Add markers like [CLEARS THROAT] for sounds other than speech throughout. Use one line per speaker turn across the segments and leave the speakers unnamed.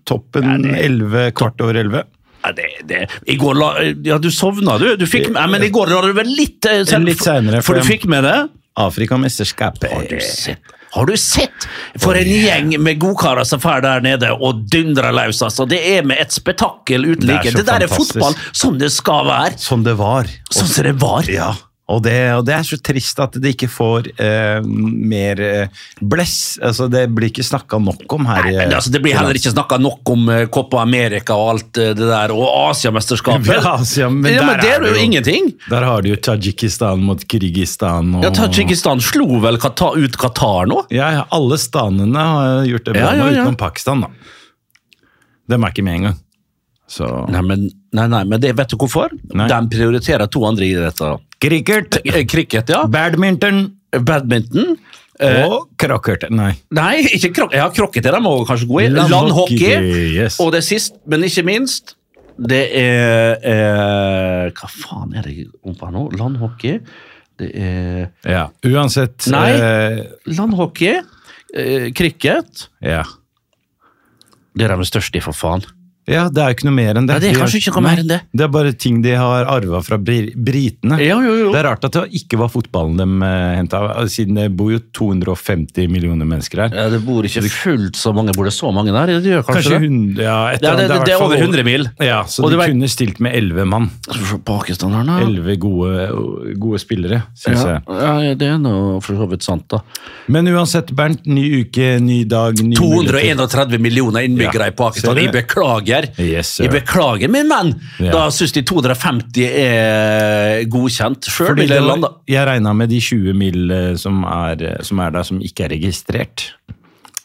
toppen elleve, kvart over elleve.
Ja, det, det. I går la, ja, du sovna, du. du fikk, nei, men i går la du vel litt eh, selv-
Litt senere, for
For du
jeg-
fikk med Eh. det?
Afrikamesterskapet.
Har du sett? Har du sett? For en gjeng med godkarer som drar der nede og dundrer løs. Altså. Det er med et spetakkel uten
Det er
like.
så
Det der er
fantastisk.
fotball som det skal være.
Som det var.
Sånn som det var.
Ja, og det, og det er så trist at det ikke får eh, mer eh, bless. Altså, det blir ikke snakka nok om her.
Nei,
i-
men altså, det blir heller ikke snakka nok om eh, Copa America og alt eh, det der, og
[LAUGHS]
Asiamesterskapet.
Ja, Asia, men
ja,
der
men det
er
er
det
jo
jo-
ingenting.
Der har du jo Tadsjikistan mot Kirgistan. Og...
Ja, Tadsjikistan slo vel Qatar, ut Qatar nå?
Ja, ja, alle stanene har gjort det bra,
Ja, ja,
nå,
ja.
utenom Pakistan, da. Dem er ikke med engang. Så
Nei, men, nei, nei, men det vet du hvorfor?
Nei.
De prioriterer to andre idretter.
Cricket,
Eh, Cricket, ja.
badminton
Badminton. Eh,
og krokket. Nei.
Nei, ikke krok ja, krokket er de også kanskje gode i.
Landhockey,
Landhockey.
yes.
Og det sist, men ikke minst, det er eh, Hva faen er det om på nå? Landhockey. Det er
Ja. Uansett
Nei.
Eh,
Landhockey, eh, cricket
ja.
Det er de største i, for faen.
ja, det er jo ikke noe mer enn det.
Ja, det er kanskje ikke noe mer enn det.
Det er bare ting de har arva fra bri- britene.
Ja, jo, jo.
Det er rart at det ikke var fotballen de henta, eh, siden det bor jo 250 millioner mennesker her.
Ja, det bor ikke fullt så mange. Bor det så mange der? Det gjør kanskje,
Kanskje
det.
100 ja, et eller
Ja, det,
annet.
det, det
i hvert
er
fall
over 100 mil.
Ja, så de
Og det var-
kunne stilt med 11 mann.
Pakistanerne
11 gode, gode spillere, syns
ja,
jeg.
ja, det er nå for så vidt sant, da.
Men uansett, Bernt. Ny uke, ny dag, ny muligheter.
231 millioner innbyggere
Ja.
i
Ser
Pakistan.
du
Jeg
det?
beklager.
Yes, sir.
jeg beklager, min menn.
Ja.
Da syns de 250 er godkjent. Sjøl
Fordi det
vil jeg lande
var, jeg regna med de 20 mil eh, som er, eh, som er der, som ikke er registrert.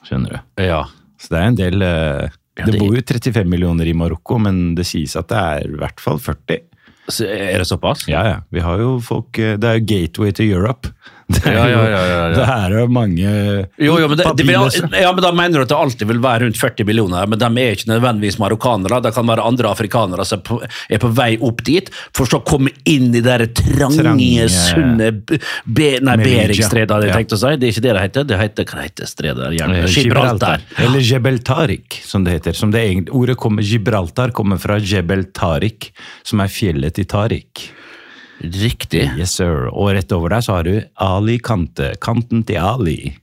Skjønner du.
ja.
Så det er en del eh,
Ja,
Det
det-
bor jo 35 millioner i Marokko, men det sies at det er i hvert fall 40.
Så Er det såpass?
Ja, ja. Vi har jo folk eh, Det er jo gateway to Europe. [LAUGHS] Det er
Ja, ja,
jo-
ja, ja, ja.
Det er jo mange
Jo, jo, men, det, det,
papirløse.
vil- ja, men Da mener du at det alltid vil være rundt 40 millioner, men de er ikke nødvendigvis marokkanere. Det kan være andre afrikanere som er på- er på vei opp dit, for så å komme inn i det der trange,
Trange-
sunne b- be, Nei,
Melilla.
Beringstredet, hadde jeg
Ja.
tenkt å si. Det er ikke det det heter. Det heter hva heter stredet der?
Eh,
Gjerne
Gibraltar.
Gibraltar.
Eller Jebel Tariq, som det heter. Som det egentlig, ordet kommer, Gibraltar kommer fra Jebel Tariq, som er fjellet til Tariq.
Riktig.
Yes, sir. Og rett over der så har du Alicante. Kanten til Ali.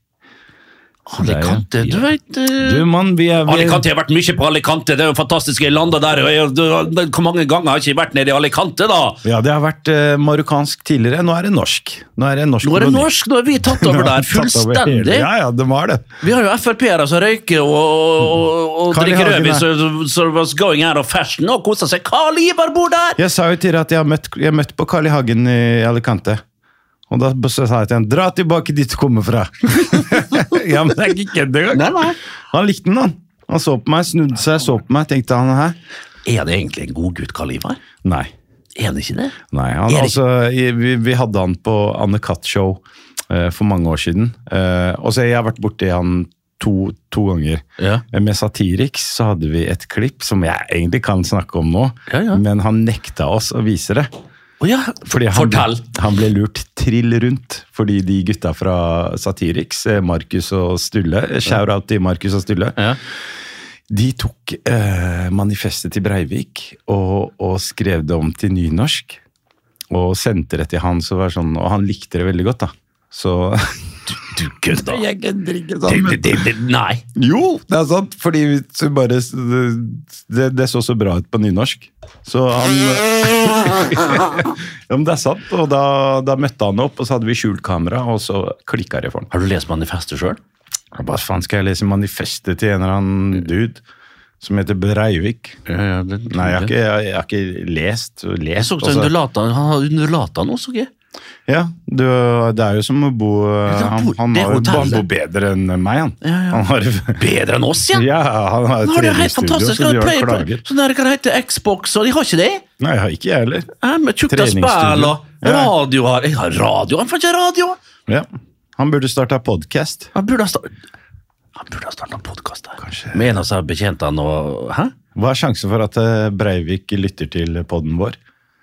Alicante, du vet eh,
Du, mann, vi er vi-
Alicante, jeg har vært mye på Alicante. Det er jo fantastisk. Jeg landa der. og jeg- du- du- Hvor mange ganger har jeg ikke vært nede i Alicante, da?
Ja, det har vært eh, marokkansk tidligere. Nå er det norsk. Nå er det norsk.
Nå er det
koloni.
norsk, nå er vi tatt
Nå
over
har
der.
de [LAUGHS] tatt over hele-
Fullstendig.
Ja, ja, de har det.
Vi har jo Frp-ere som røyker og, og, og, og
Carl I.
drikker
Hagen
rødvin,
er-
så, så was going out of fashion og koser seg. Carl Ivar bor der!
Jeg sa jo til deg at jeg har møtt, jeg har møtt på Carl I. Hagen i Alicante. Og da b- så sa jeg til han, dra tilbake dit du kommer fra. [LAUGHS] ja, men det er ikke kødd engang.
Nei, nei.
Han likte den, han. Han så på meg, snudde seg, så på meg, tenkte han hæ?
Er det egentlig en god gutt, Carl Ivar?
Nei.
Er han ikke det?
Nei, han,
Erik.
altså, i- vi, vi hadde han på Anne Katt-show eh, for mange år siden. Eh, og så jeg har vært borti han to, to ganger. Eh,
Ja.
Med Satiriks så hadde vi et klipp som jeg egentlig kan snakke om nå,
Ja, ja.
men han nekta oss å vise det.
Å ja.
Fordi han,
Fortell!
han ble lurt trill rundt fordi de gutta fra Satiriks, eh, Markus og Stulle, shout-out til Markus og Stulle,
Ja.
de tok eh, manifestet til Breivik og, og skrev det om til nynorsk. Og sendte det til han, så var det sånn, og han likte det veldig godt, da. Så
Du kødda!
Jeg kødder ikke sånn.
Det- det- det- Nei.
Jo, det er sant, fordi så bare, det, det så så bra ut på nynorsk. Så han [LAUGHS] Ja, men det er sant. Og da, da møtte han opp, og så hadde vi skjult kamera, og så klikka det for han.
Har du lest manifestet sjøl?
Og Hva faen skal jeg lese manifestet til en eller annen dude som heter Breivik?
Ja, ja,
Nei, jeg har ikke, jeg, jeg har ikke lest.
Jeg
lest
så også
og så-
undulata. Han har undulata nå, så jeg.
Ja, du, det er jo som å bo
det er
Han,
bo-
han,
det
har jo- han
hotellet.
bor bedre enn meg, han.
Ja, ja.
Han har
Bedre enn oss, [LAUGHS] ja!
Ja, han har
Nå
et
har det helt
treningsstudio,
fantastisk.
så
Han
de
har
har
play-
klager.
Sånn der, hva det heter Xbox, og de har ikke det?
Nei, jeg har ikke jeg heller.
Ja, Med tjukt av spill
Treningsstudio.
og
Ja.
radio har Jeg har radio! Han får ikke radio!
Ja. Han burde starta podkast.
Han burde ha starta Han burde ha starta podkast der.
Kanskje.
Med en av sine betjentene og Hæ?
Hva er sjansen for at eh, Breivik lytter til podden vår?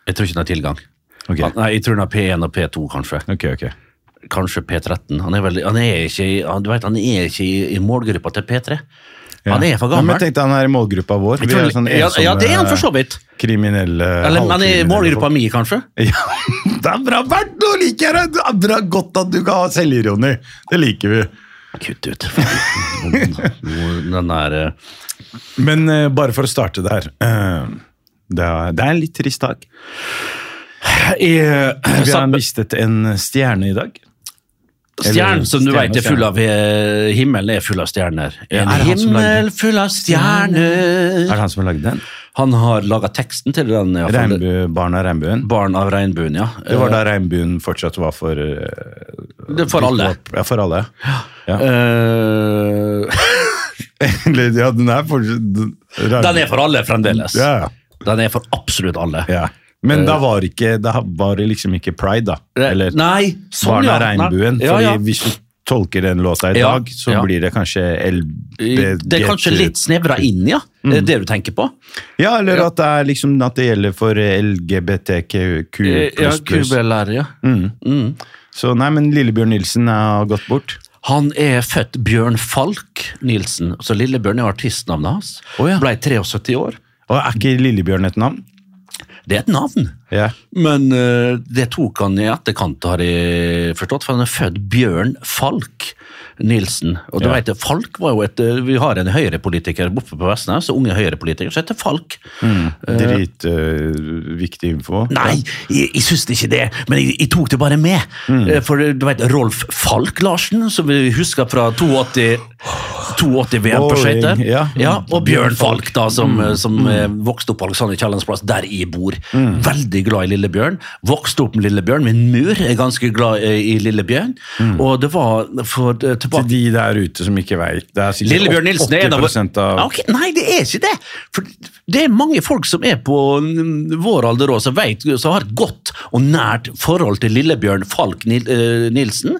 Jeg tror ikke han har tilgang.
Ok.
Han, nei, jeg tror han har P1 og P2, kanskje.
Ok, ok.
Kanskje P13. Han er, veldig, han er ikke, i- han, du vet, han er ikke i, i målgruppa til P3.
Ja.
Han er for
Ja, men
gammel.
jeg tenkte han er i målgruppa vår.
Jeg
Vi
tror-
er sånn
ja,
ensomme
ja, det er han for så vidt.
kriminelle
Eller han er i
halvkriminelle
målgruppa
folk. [LAUGHS]
mi, kanskje.
Ja, det er bra, Bert! Nå liker jeg deg! Det er bra godt at du kan ha selvironi. Det liker vi.
Kutt [LAUGHS] ut. Den der eh,
Men eh, bare for å starte der. eh, det, er, det er en litt trist dag. Eh, Vi har
sam-
mistet en stjerne i dag.
Stjernen som du
stjerne,
vet er full av eh, Himmelen er full av stjerner. En
er det han som lagde
himmel full
Er
av stjerner
det han som har lagd den?
Han har laga teksten til den. i hvert fall.
Regnbu, barna Regnbuen?
Barn av regnbuen, ja.
Det var da regnbuen fortsatt var for eh,
Det- Eh. for alle.
Ja, for alle. Ja. [LAUGHS]
Eh,
Eller, ja, den er fortsatt
den er for alle fremdeles.
Ja, ja.
Den er for absolutt alle.
ja. Men da var, ikke, da var det liksom ikke pride, da.
Eh,
Eller
Nei, sånn,
Barna
ja.
Regnbuen.
Nei, ja,
fordi
ja.
hvis du tolker den låta i
Ja,
dag, så
ja.
blir det kanskje LB...
Det er kanskje litt snevra inn, ja.
Mm.
Det er det du tenker på.
Ja, eller at det, er liksom, at det gjelder for LGBTQ++.
Eh, Ja, QBLR, ja. Mm.
Så nei, men Lillebjørn Nilsen har gått bort.
Han er født Bjørn Falk Nilsen, så Lillebjørn er artistnavnet hans.
Å, ja.
Ble 73 år.
Og er ikke Lillebjørn et navn?
Det er et navn,
Ja.
men eh, det tok han i etterkant, har jeg forstått, for han er født Bjørn Falk Nilsen. Og du
Ja.
vet, Falk var jo et eh, Vi har en høyrepolitiker oppe på Vestnes, unge høyrepolitiker, som heter Falk.
Mm. Dritviktig eh, info.
Nei, jeg, jeg syns ikke det, men jeg, jeg tok det bare med. Eh, For du vet, Rolf Falk Larsen, som vi husker fra 82 VM på
Boring,
skøyter.
ja.
og Bjørn Falk, da, som, som eh, vokste opp på Alexander Kiellands plass, der jeg bor. Veldig glad i Lillebjørn. Vokste opp med Lillebjørn. Min mur er ganske glad eh, i Lillebjørn. Og det var for eh, tilbake
Til de der ute som ikke veit. Det er sikkert
Lillebjørn Nilsen er en av
80 av
Ja, ok, Nei, det er ikke det! For det er mange folk som er på mm, vår alder òg, som, vet- som har et godt og nært forhold til Lillebjørn Falk Nil eh, Nilsen.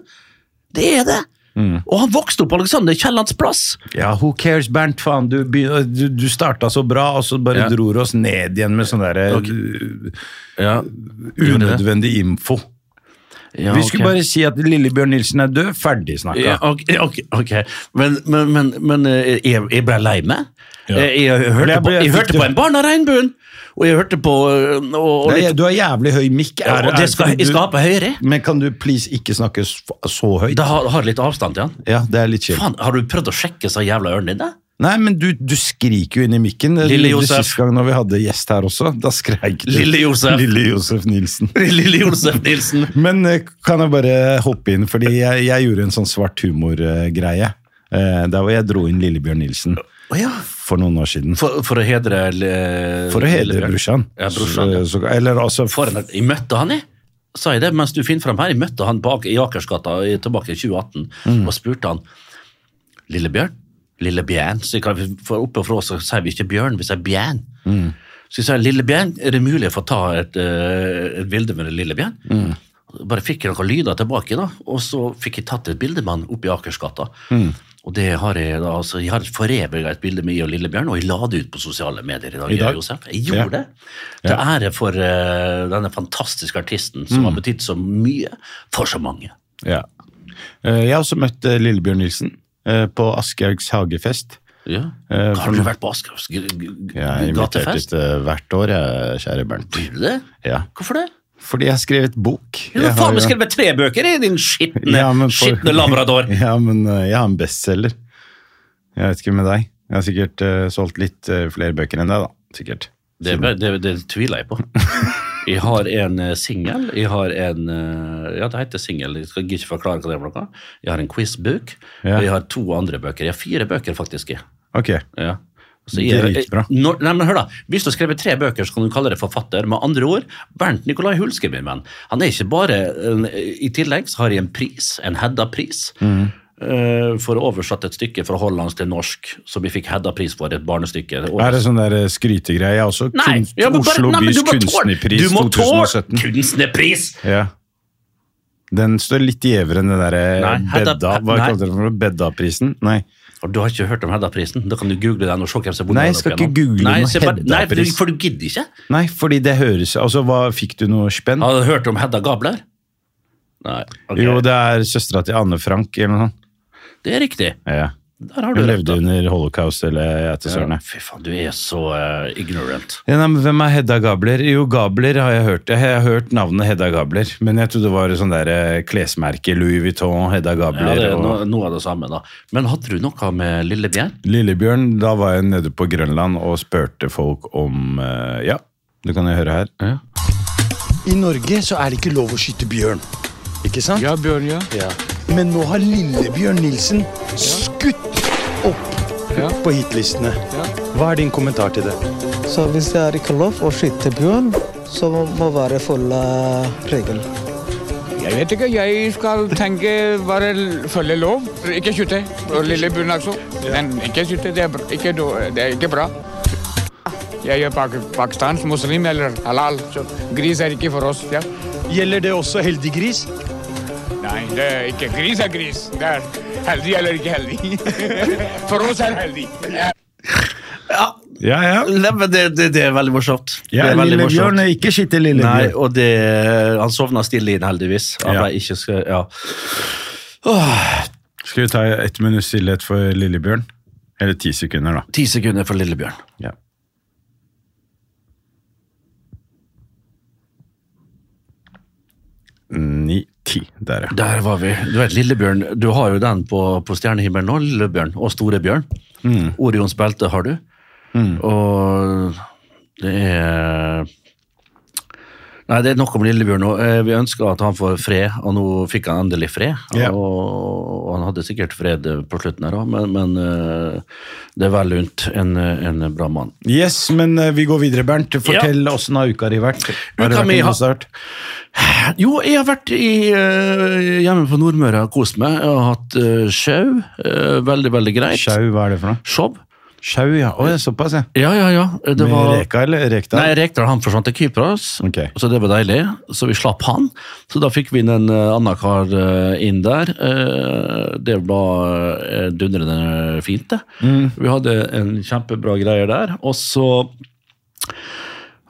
Det er det!
Mm.
Og han vokste opp på Alexander Kiellands plass!
Ja, who cares, Bernt, faen. Du, begynner- du, du starta så bra, og så bare
Ja.
dro du oss ned igjen med sånn derre
Ok.
uh,
Ja,
unødvendig info. Vi skulle
ok.
bare si at Lillebjørn Nilsen er død. Ferdig snakka.
ja, ok, ok, ok. Men, men, men, men eh, jeg, jeg ble lei meg. Jeg, jeg,
Men
hørte
jeg
på,
ble-
jeg hørte på en Barn av regnbuen! Og jeg hørte på eh, og, og,
Nei,
litt,
du har jævlig høy mikk. Er-
og
er-
det skal, jeg skal ha på høyre.
Men kan du please ikke snakke så, så høyt?
Da har, har litt avstand til han.
Ja, det er litt kjipt.
Faen, har du prøvd å sjekke så jævla ørene
[LAUGHS]
dine?
Nei, men du, du skriker jo inn i mikken. Det
Lille
gjorde du
Josef.
Sist gang når vi hadde gjest her også, da skreik du.
Lille Josef.
Lille Josef Nilsen.
Lille Josef [LAUGHS] Nilsen.
Men eh, kan jeg bare hoppe inn, fordi jeg, jeg gjorde en sånn svart humor-greie. Eh, Der hvor jeg dro inn Lillebjørn Nilsen for noen år siden.
For, for å hedre eh, le-
For å hedre
Lillebjørn.
brorsan.
Ja, brorsan, ja.
Så- så- Eller altså
For en, jeg møtte han, jeg. Sa jeg det mens du finner fram her? Jeg møtte han på, Ak- i Akersgata i- tilbake i 2018 og spurte han Lille Bjørn? Lille Bjørn? Så jeg kan, for oppe fra oss så sier vi ikke Bjørn, vi sier Bjørn. Så jeg sa Lille Bjørn, er det mulig å få ta et, eh, et bilde med Lille Bjørn? Bare fikk jeg noen lyder tilbake, da, og så fikk jeg tatt et bilde med han oppe i Akersgata. Og det har jeg da, altså, jeg har foreviga et bilde med jeg og Lillebjørn, og jeg la det ut på sosiale medier i dag.
I dag?
Josef. Jeg gjorde
Ja. Mm.
det. Til ære for eh, denne fantastiske artisten som har betydd så mye for så mange.
Ja. Eh, Jeg har også møtt eh, Lillebjørn Nilsen eh, på Aschehougs hagefest.
Ja.
Eh, for-
har du vært på Askers
Jeg er invitert
gatefest?
ut eh, hvert år, jeg, kjære Bernt.
Blir du det?
Ja.
Hvorfor det?
Fordi jeg har skrevet bok.
Du
Jeg
har
har
faen meg
jo-
skrevet tre bøker, i din skitne,
Ja, men for-
skitne labrador!
[LAUGHS] Ja, men eh, jeg har en bestselger. Jeg vet ikke med deg. Jeg har sikkert eh, solgt litt eh, flere bøker enn deg, da. Sikkert.
Det, det, det
[LAUGHS]
tviler jeg på. Jeg har en eh, singel, jeg har en eh, Ja, det heter singel, jeg skal ikke forklare hva det er for noe. Jeg har en quizbok,
Ja.
og jeg har to andre bøker. Jeg har fire bøker, faktisk. jeg.
Ok.
Ja. Så jeg,
Dritbra.
Når, nei, men hør da, Hvis du har skrevet tre bøker, så kan du kalle det forfatter. Med andre ord, Bernt Nikolai Hulske, min venn, han er ikke bare eh, I tillegg så har jeg en pris, en Hedda-pris,
Mm.
eh, for å oversette et stykke fra hollandsk til norsk, som vi fikk Hedda-pris for, et barnestykke.
Er det sånn der eh, skrytegreie Jeg har også?
Nei,
kunst,
ja, men bare,
Oslo
nei, men
bys
du må tåle-
kunstnerpris
Du må tåle
2017.
kunstnerpris!
Ja. Den står litt gjevere enn den derre
Nei, Hedda-
Bedda... Hva
nei.
kalte dere for noe? Bedda-prisen? Nei.
Og du har ikke hørt om Hedda-prisen? Da kan du google den og se hvem som har
Nei,
vunnet
jeg
den opp
skal ikke
igjennom.
google
nei,
noe
se bare- Nei, for du-
Hedda-pris.
for du gidder ikke?
Nei, fordi det høres Altså, hva, fikk du noe spenn?
Har du hørt om Hedda Gabler? Nei. ok.
Jo, det er søstera til Anne Frank eller noe sånt.
Det er riktig.
Ja.
Der har du
Hun
rett.
levde
da.
under holocaust eller jeg til søren. jeg.
Fy faen, du er så eh, ignorant.
Ja, nei, men hvem er Hedda Gabler? Jo, Gabler har jeg hørt. Jeg har hørt navnet Hedda Gabler, men jeg trodde det var et sånn der eh, klesmerke Louis Vuitton, Hedda
Ja,
Gabler
det er
og
no, noe av det samme, da. Men hadde du noe med Lillebjørn?
Lillebjørn. Da var jeg nede på Grønland og spurte folk om eh, Ja, det kan jeg høre her.
I Norge så er det ikke lov å skyte bjørn. Ikke sant? Ja, bjørn, ja. Men nå har Lillebjørn Nilsen skutt opp på hitlistene. Hva er din kommentar til det?
Så hvis det er ikke lov å skyte bjørn, så må må eh, være full av regel.
Jeg vet ikke, jeg skal tenke bare l- følge lov. Ikke skyte. Og lille bjørn også. Men ikke skyte, det er, br- ikke, do- det er ikke bra. Jeg er pak pakistansk muslim eller halal, så gris er ikke for oss. ja.
Gjelder det også heldig gris?
Nei, det er ikke gris er gris. Det er heldig eller ikke heldig. [LAUGHS] for oss er heldig. Ja.
Ja,
Ja, ja.
men det, det, det er veldig morsomt.
ja
det er veldig morsomt.
Lillebjørn er ikke skitt i
Nei,
Lillebjørn.
og det, eh, han sovna stille inn, heldigvis. Han
Ja.
ble ikke skal, ja.
Skal vi ta ett minutts stillhet for Lillebjørn? Eller ti sekunder, da.
Ti sekunder for Lillebjørn.
Ja. Ni, ti. Der, ja.
Der var vi. Du vet, Lillebjørn, du har jo den på, på stjernehimmelen nå, Lillebjørn og Storebjørn. Mm. Orions belte har du. Og det er Nei, det er nok om Lillebjørn nå. Eh, Vi ønsker at han får fred, og nå fikk han endelig fred.
Ja.
Og, og han hadde sikkert fred eh, på slutten her òg, men, men eh, det er vel lunt. En, eh, en bra mann.
Yes, men eh, vi går videre, Bernt. Fortell åssen har uka di vært? Har
Uka
det vært
mi
en
har-
konsert?
Jo, jeg har vært i, eh, hjemme på Nordmøre og kost meg. Jeg har hatt eh, sjau. eh, veldig, veldig greit.
Sjau, hva er det for noe?
Show.
Sjau, ja. Å, ja, såpass, ja.
Ja, ja, ja. Det
Med
var...
Reka eller Rekdal?
Nei, Rekdal han forsvant til Kypros,
Ok.
så det var deilig. Så vi slapp han. Så da fikk vi inn en eh, annen kar eh, inn der. Eh, Det var eh, dundrende fint, det.
Mm.
Vi hadde en kjempebra greie der. Og så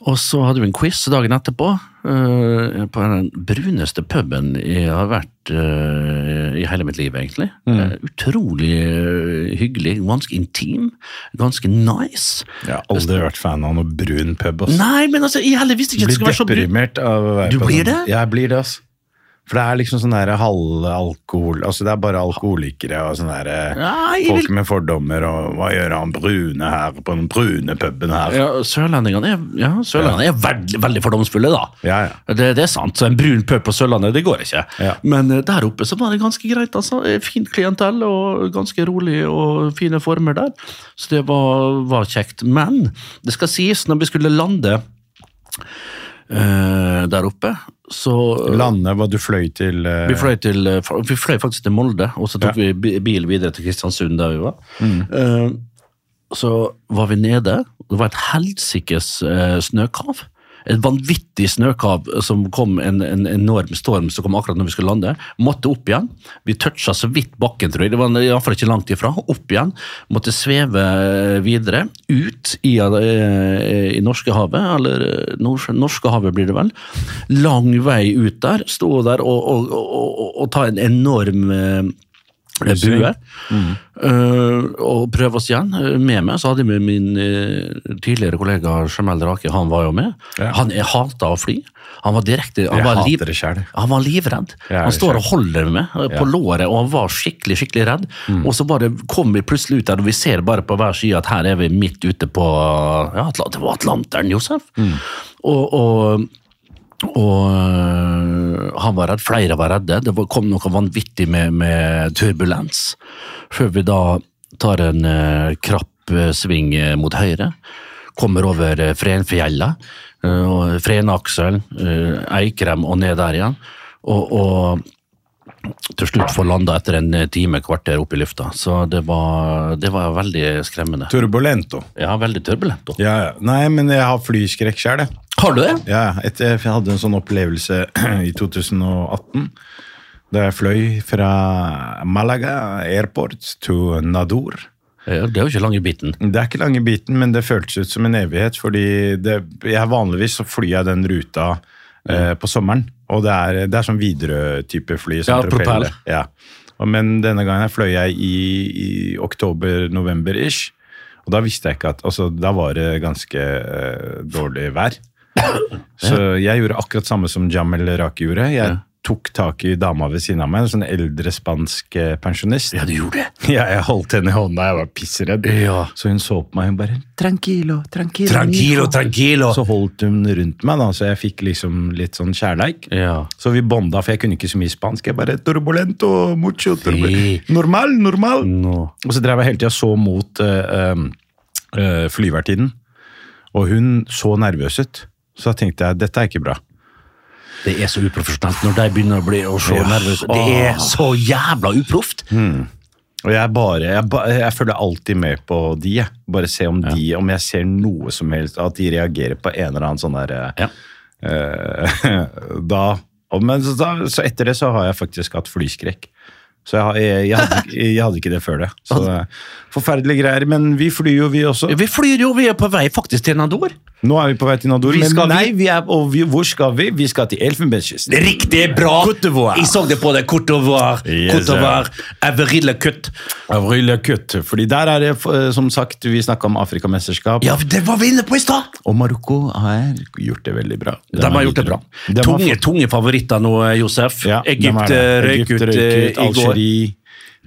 og så hadde vi en quiz dagen etterpå, eh, på den bruneste puben jeg har vært eh, i hele mitt liv, egentlig.
Mm.
Eh, utrolig eh, hyggelig, ganske intim, ganske nice.
Jeg har aldri vært fan av noe brun pub. ass.
Nei, men altså, jeg heller visste ikke at det
Blir
skulle være så brun.
deprimert av å være
Du
på
blir
sånn.
det?
Jeg blir det, ass. For det er liksom sånn der halvalkohol Altså, det er bare alkoholikere og sånn derre
Nei, jeg
Folk
vil...
med fordommer og Hva gjør han brune her på den brune puben her?
Ja, sørlendingene er, ja, sørlendingene er veldig, veldig fordomsfulle, da.
Ja, ja.
Det, det er sant. Så en brun pøp på Sørlandet, det går ikke.
Ja.
Men eh, der oppe så var det ganske greit. altså. Eh, Fint klientell og ganske rolig og fine former der. Så det var, var kjekt. Men det skal sies, når vi skulle lande eh, der oppe, så
Lande, hva du fløy til eh,
Vi fløy, til, vi fløy faktisk til Molde, og så tok vi bi- bil videre til Kristiansund, der vi var.
Mm.
Eh, så var vi nede, og det var et helsikes eh, snøkav. Et vanvittig snøkav som kom en, en enorm storm som kom akkurat når vi skulle lande. Måtte opp igjen. Vi toucha så vidt bakken, tror jeg. Det var iallfall ikke langt ifra. Opp igjen. Måtte sveve eh, videre. Ut i, eh, i Norskehavet, eller eh, Norsk- Norskehavet blir det vel. Lang vei ut der. Stå der og, og, og, og, og ta en enorm eh, bue. Eh, og prøve oss igjen. Eh, Med meg så hadde vi min eh, tidligere kollega Jamal Rake, han var jo med.
Ja.
Han jeg hata å fly. Han var direkte han
Jeg
var
hater det selv.
Han var livredd.
Jeg er
Han
det
står
selv.
og holder med eh, på
Ja. Mm.
låret, og han var skikkelig skikkelig redd. Og så bare kom vi plutselig ut der, og vi ser bare på hver side at her er vi midt ute på ja, Atla- Det var Atlanteren, Josef.
Mm.
Og, og og øh, han var redd, flere var redde. Det var- kom noe vanvittig med, med turbulens. Før vi da tar en øh, krapp øh, sving øh, mot høyre, kommer over øh, Frenfjella, øh, og Frenaksel, øh, Eikrem og ned der igjen. Og, og til slutt får landa etter en øh, time, kvarter opp i lufta. Så det var, det var veldig skremmende.
Turbulento.
Ja, veldig turbulent. da.
Ja, ja. Nei, men jeg har flyskrekk sjøl, jeg.
Har du det?
Ja, ja. etter, jeg hadde en sånn opplevelse [CLEARS THROAT] i 2018 da jeg fløy fra Malaga airport til Nador.
Ja, Det er jo ikke lang i biten.
Det er ikke lange biten, men det føltes ut som en evighet, fordi det, jeg vanligvis så flyr jeg den ruta eh, på sommeren, og det er, det er sånn Widerøe-type fly. sånn
Ja, propell.
Ja. Og, men denne gangen her fløy jeg i, i oktober-november-ish, og da visste jeg ikke at, altså da var det ganske eh, dårlig vær. Så jeg gjorde akkurat samme som Jamel Raki gjorde. Jeg tok tak i dama ved siden av meg, en sånn eldre spansk eh, pensjonist.
Ja, du gjorde det.
[LAUGHS] Ja, jeg holdt henne i hånda, jeg var pissredd.
Ja.
Så hun så på meg, hun bare Tranquilo, tranquilo. mijo».
tranquilo.
Så holdt hun rundt meg, da, så jeg fikk liksom litt sånn kjærleik.
Ja.
Så vi bonda, for jeg kunne ikke så mye spansk. Jeg bare turbulento, mucho, turbul-
Fy.
normal, normal.
Nå.
Og så drev jeg hele tida så mot eh, eh, eh, flyvertinnen, og hun så nervøs ut. Så da tenkte jeg dette er ikke bra.
Det er så uprofesjonelt når de begynner å bli å se
Ja.
nervøse. Det er så jævla uproft!
Og jeg bare, jeg, ba, jeg følger alltid med på de. jeg. Bare se om de, om jeg ser noe som helst, at de reagerer på en eller annen sånn der eh,
Ja.
Eh, [LAUGHS] da, og- men så, da, så etter det så har jeg faktisk hatt flyskrekk. Så jeg, har- jeg, jeg, hadde, ikke- jeg hadde ikke det før det. Så [LAUGHS] det er Forferdelige greier, men vi flyr jo vi også.
Vi flyr jo, vi er på vei faktisk til Nador.
Nå er vi på vei til Nador,
Vi
men
skal vi-
nei, vi er, og vi, hvor skal vi? Vi skal til Elfenbenskysten.
Riktig bra!
Côte d'Ivoire.
Jeg så det på deg. Côte d'Ivoire.
Yes,
Côte d'Ivoire. Everille kutt.
Kutt, fordi der er det, f- som sagt, vi snakka om Afrikamesterskap,
Ja, det var vi inne på i stad!
og Marokko har gjort det veldig bra.
De har gjort det bra.
De har
Tunge,
fått-
tunge favoritter nå, eh, Josef.
Ja, de har
Egypt eh,
det.
røyk
Egypt
ut eh, i går.
Algerie,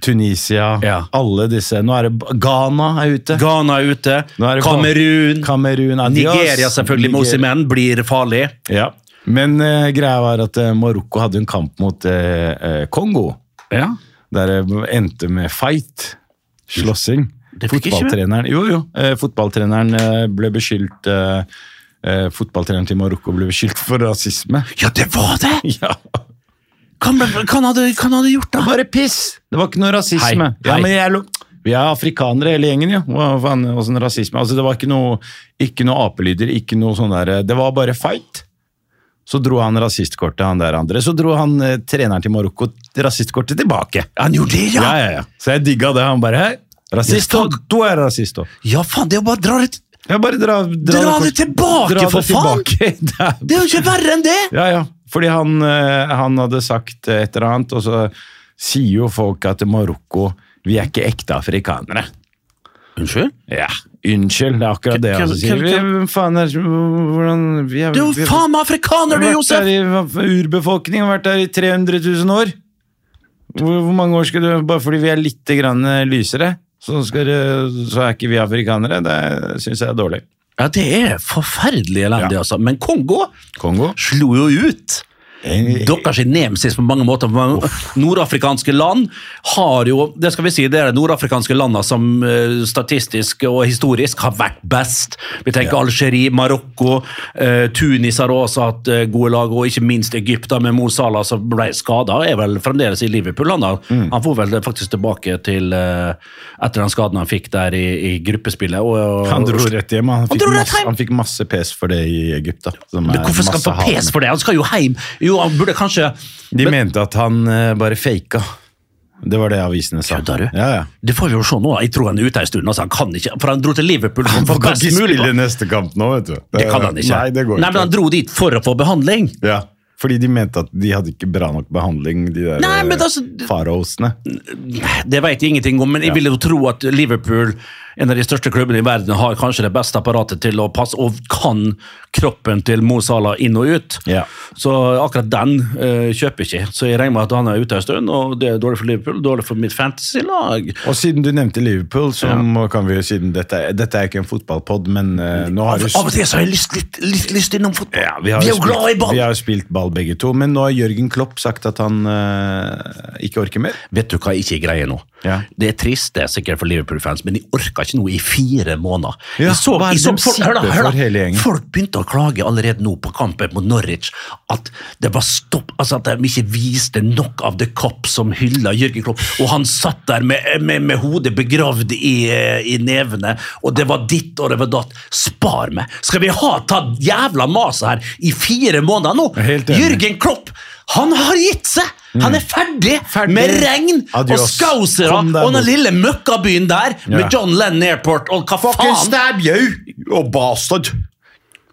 Tunisia,
Ja.
alle disse. Nå er det Ghana er ute.
Ghana er ute.
Nå er det
Kamerun.
Kamerun, adios.
Nigeria, selvfølgelig.
Nigeria.
Mosimen blir farlig.
Ja. Men eh, greia var at eh, Marokko hadde en kamp mot eh, eh, Kongo,
Ja.
der det endte med fight. Slåssing.
Det fikk ikke vi.
Fotballtreneren Jo, jo. Eh, fotballtreneren eh, ble beskyldt eh, eh, Fotballtreneren til Marokko ble beskyldt for rasisme.
Ja, det var det!
[LAUGHS] Ja,
Hva han hadde, hva han hadde gjort, da?
Bare piss! Det var ikke noe rasisme.
Hei,
Ja,
hei.
men jeg, lo- vi er afrikanere hele gjengen, jo. Hva faen, åssen rasisme? Altså, det var ikke noe, ikke noe apelyder, ikke noe sånn der Det var bare fight. Så dro han rasistkortet, han der andre. Så dro han eh, treneren til Marokko rasistkortet tilbake.
Han gjorde det,
Ja,
ja!
ja, ja. Så jeg digga det. Han bare Hei, rasist,
Yes, takk.
du er rasist òg.
Ja, faen, det er jo bare å dra det
Ja, bare dra, dra,
Dra
kort-
det tilbake,
dra
for
det tilbake. [LAUGHS] Det er
Det er jo ikke verre enn det!
Ja, ja. Fordi han, eh, han hadde sagt eh, et eller annet, og så sier jo folk at Marokko Vi er ikke ekte afrikanere.
Unnskyld?
Ja, unnskyld. Det er akkurat det han
Hvem-
sier.
hvem-
Vi,
hvem-
hvem faen er Hvordan vi er,
Du er
vi-
jo faen meg afrikaner, du,
vi har vært
Josef!
der i- Urbefolkning har vært der i 300 000 år. Hvor, hvor mange år skal du Bare fordi vi er litt grann eh, lysere, så, skal, det- så er ikke vi afrikanere. Det syns jeg er dårlig.
Ja, det er forferdelig elendig, altså. Men Kongo
Kongo?
slo jo ut
Eh,
Deres nemsis på mange måter. Nordafrikanske land har jo Det skal vi si, det er de nordafrikanske landene som eh, statistisk og historisk har vært best. Vi tenker Algerie, Marokko, eh, Tunis har også hatt eh, gode lag, og ikke minst Egypt da, med Mo Salah som ble skada, er vel fremdeles i Liverpool. Han, da.
Mm.
han får vel faktisk tilbake til eh, etter den skaden han fikk der i, i gruppespillet. Og, og,
Han dro rett hjem. Han
Han
fikk,
dro rett
masse,
hjem!
han fikk masse pes for det i Egypt. Da, som
Men
er
hvorfor skal
masse
han få
hat.
pes for det? Han skal jo hjem! Jo, han burde kanskje
De
Men-
mente at han eh, bare faka. Det var det avisene sa.
Kødder du?
Ja, ja.
Det får vi jo se nå. da. Jeg tror han er ute en stund. Altså, han kan ikke, for han dro til Liverpool for å få
Han kan
best
ikke
mulig
spille neste kamp nå, vet du.
Det kan han ikke.
Nei, det går
Nei, men
ikke.
han dro dit for å få behandling.
Ja, fordi de mente at de hadde ikke bra nok behandling, de der
Nei, men
eh,
altså-
faraosene.
Det vet jeg ingenting om, men jeg vil jo tro at Liverpool, en av de største klubbene i verden, har kanskje det beste apparatet til å passe, og kan kroppen til Mo Salah inn og ut.
Ja.
Så akkurat den eh, kjøper ikke. Så jeg regner med at han er ute en stund, og det er dårlig for Liverpool, dårlig for mitt fantasy-lag.
Og siden du nevnte Liverpool, så må- kan vi jo siden dette, er- dette er ikke en fotballpod, men eh, nå har
Av
du
av og til så har jeg lyst, litt, litt lyst innom fotball.
Ja, vi, har
er
jo
jo
spilt-
glad i ball!
Vi har jo spilt ball begge to, men nå har Jørgen Klopp sagt at han eh, ikke orker mer.
Vet du hva jeg ikke greier nå?
Ja.
Det er trist, det er sikkert for Liverpool-fans, men de orka ikke noe i fire måneder.
Ja,
jeg så,
hva er
jeg
det
så
de
folk, hør da,
sitter
hør
for hele
da,
gjengen?
folk begynte å klage allerede nå på kampen mot Norwich at det var stopp, altså at de ikke viste nok av The Cop som hylla Jørgen Klopp, og han satt der med, med, med hodet begravd i, eh, i nevene, og det var ditt og det var datt. Spar meg! Skal vi ha tatt jævla maset her i fire måneder nå?
Helt enig. Mm.
Jørgen Klopp, han har gitt seg! Han er ferdig,
Ferdig.
med regn
Adios.
og skausere
Kom deg
og den
bort.
lille møkkabyen der med
Ja.
John Lennon Airport og hva faen?
stab you, you bastard!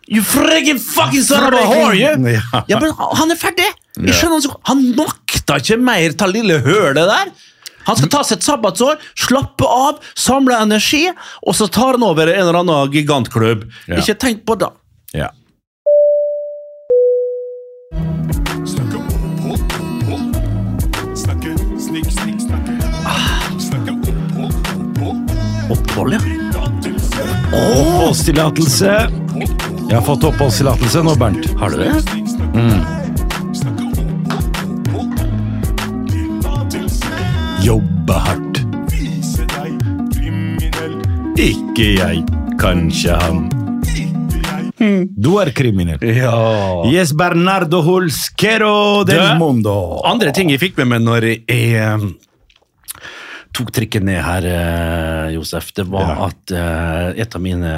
You friggin' fucking son of a whore, you!
Ja.
Ja, men han er ferdig! Jeg skjønner Han så- Han makta ikke mer ta lille hølet der. Han skal ta seg et sabbatsår, slappe av, samle energi, og så tar han over en eller annen gigantklubb.
Ja.
Ikke tenk på det.
Ja.
Opphold, ja.
Oppholdstillatelse. Jeg har fått oppholdstillatelse nå, Bernt.
Har du det?
Jobbe hardt. Ikke jeg, kanskje han. Du er kriminell.
Hmm. Ja.
Yes, Bernardo Hulskero del
Du?
Mondo.
Andre ting jeg fikk med meg når jeg eh, tok trikken ned her, eh, Josef, det var
Ja.
at eh, et av mine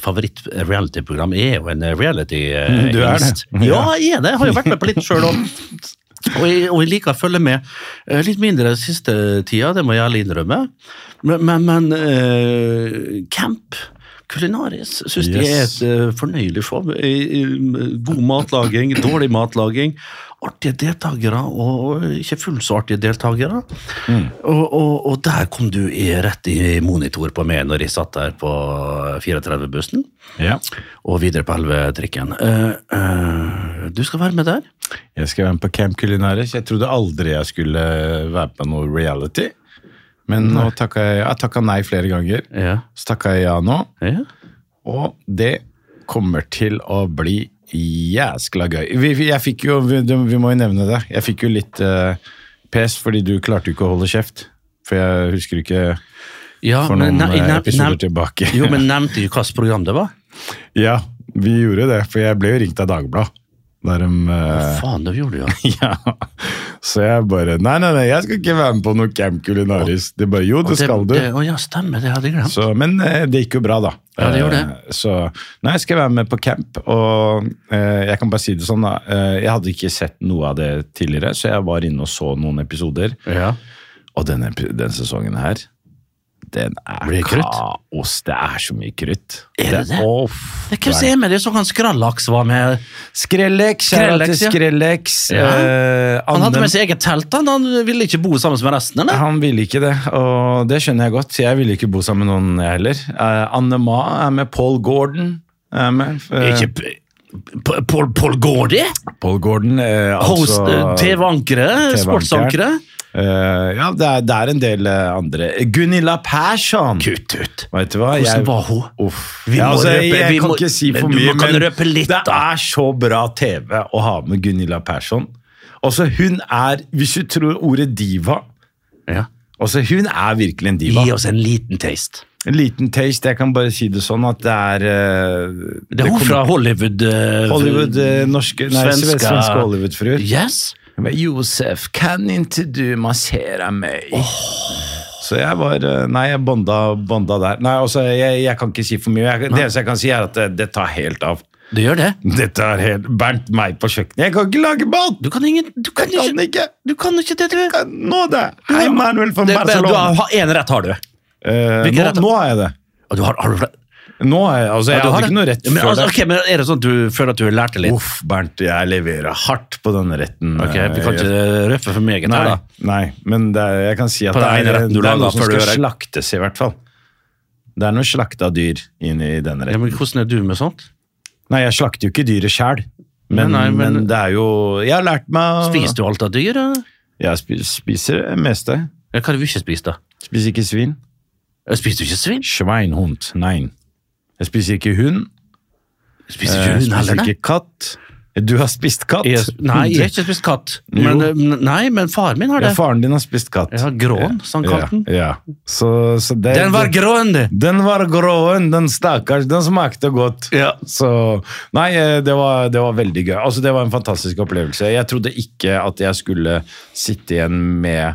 favoritt-reality-program er jo en eh, reality-hingst.
[LAUGHS] du er det.
Ja, jeg er det. Jeg har jo vært med på litt sjøl òg. Og jeg, og jeg liker å følge med eh, litt mindre siste tida, det må jeg ærlig innrømme. Men, men, men eh, camp kulinaris syns jeg er
Yes.
et eh, fornøyelig show. I- i- God matlaging, dårlig matlaging. Artige deltakere og og ikke fullt så artige deltakere. Og, og, og der kom du i, rett i monitor på meg når jeg satt der på 34-bussen
Ja,
og videre på 11-trikken. Eh, eh, du skal være med der.
jeg skal være med på Camp Culinaris. Jeg trodde aldri jeg skulle være på noe reality. Men nå takka jeg, jeg takka nei flere ganger.
Ja.
Så takka jeg ja nå.
ja.
Og det kommer til å bli jæskla gøy. Vi, vi- jeg fikk jo, vi, det- vi må jo nevne det, jeg fikk jo litt eh, pes fordi du klarte jo ikke å holde kjeft. For jeg husker ikke
Ja,
for noen
men nei-
eh,
nei-
episoder
nei-
tilbake.
Jo,
[LAUGHS]
men nevnte du hvilket program det var?
ja, vi gjorde det, for jeg ble jo ringt av Dagbladet. Der de, eh,
Faen, det gjorde du, ja.
[LAUGHS] ja. Så jeg bare Nei, nei, nei, jeg skal ikke være med på noe Camp Culinaris. De bare Jo, det skal du.
Det, å ja, stemmer, det hadde jeg glemt.
Så, men eh, det gikk jo bra, da.
Ja, det gjorde det.
Eh, Så nei, jeg skal være med på camp, og eh, jeg kan bare si det sånn, da. eh, Jeg hadde ikke sett noe av det tidligere, så jeg var inne og så noen episoder.
Ja.
Og denne, epi- den sesongen her, den er
Blir det krutt?
kaos. Det er så mye krutt.
Er det det?
Å,
Det er hvem som er med det, så han Skrallaks var med.
Skrellex, kjære til
Skrellex, ja.
Skrellex.
Ja.
eh,
Han hadde
Anne-
med seg eget telt, han, han ville ikke bo sammen med resten, eller?
Han ville ikke det, og det skjønner jeg godt. Jeg ville ikke bo sammen med noen, jeg heller. Eh, Anne Ma er med. Paul Gordon er med. Eh,
Ikke P- P- Paul, Paul Gordy?
Paul Gordon, eh,
Host,
altså
eh, TV-ankere? Sportsankere?
Eh, ja, det er, det er en del eh, andre. Gunilla Persson!
Kutt ut!
Vet du hva?
Hvordan
jeg-
var hun?
Uff.
Vi
Ja,
må
altså, jeg,
røpe- vi
jeg kan
må-
ikke si for
men du
mye,
må- kan røpe litt,
det
da.
er så bra TV å ha med Gunilla Persson. Altså, hun er, hvis du tror ordet diva,
Ja.
altså, hun er virkelig en diva.
Gi oss en liten taste.
En liten taste, jeg kan bare si det sånn at det er... eh,
Det er hun
kommer-
fra Hollywood. eh,
Hollywood, eh, norske, nei,
svenska-
svenske Hollywood-fruer.
Yes.
Men Josef, kan ikke du massere meg? Så jeg var eh, Nei, jeg bonda, bonda der. Nei, altså, jeg, jeg kan ikke si for mye. Jeg, det eneste jeg kan si, er at det, det tar helt av.
Det gjør det.
Dette er helt Bernt meg på kjøkkenet. Jeg kan ikke lage mat!
Du kan ingen Du kan
Jeg kan
ikke,
ikke!
du kan ikke det, du.
Jeg kan Nå det! Hei, Manuel fra
Det er bare- du
Barcelona.
har én rett, har du.
Eh,
Hvilken
nå,
rett-
nå har jeg det.
Og du har, har du flere?
Nå har jeg, altså, jeg
Ja, du har
hadde
det.
ikke noe rett
men,
før
altså,
det.
ok, men Er det sånn at du føler at du lærte litt?
Uff, Bernt, jeg leverer hardt på denne retten.
Ok, Vi kan
eh,
ikke røffe for meget. her,
Nei,
da.
nei, men det er, jeg kan si at
På
det
den ene
er,
retten
det
du
er
lager,
noe som
før du
skal
gjør det.
slaktes, i hvert fall. Det er noe slakta dyr inn i denne
Ja,
retten.
men Hvordan er du med sånt?
Nei, jeg slakter jo ikke dyret sjæl. Men,
Nei, nei,
men,
men-
det er jo Jeg har lært meg å-
Spiser du alt av dyr? eller?
Jeg spi- spiser det meste.
Ja, Hva har du ikke spist, da?
Spiser ikke svin.
Jeg Spiser du ikke svin?
Schweinhund. Nei. Jeg spiser ikke hund.
Spiser
Jeg
ikke
Eh,
hund
spiser
heller, nei?
ikke katt. Du har spist katt.
Jeg, nei, jeg har ikke spist katt. Men,
Jo.
eh, nei, men faren min har
ja,
det.
faren din har spist katt.
Ja, gråen, som han kalte den.
Ja, ja. Så, så det,
Den var
det-
grønn! det.
Den var gråen, den stakkars, den smakte godt.
Ja.
Så, nei, eh, det var, det var veldig gøy. Altså, det var en fantastisk opplevelse. Jeg trodde ikke at jeg skulle sitte igjen med,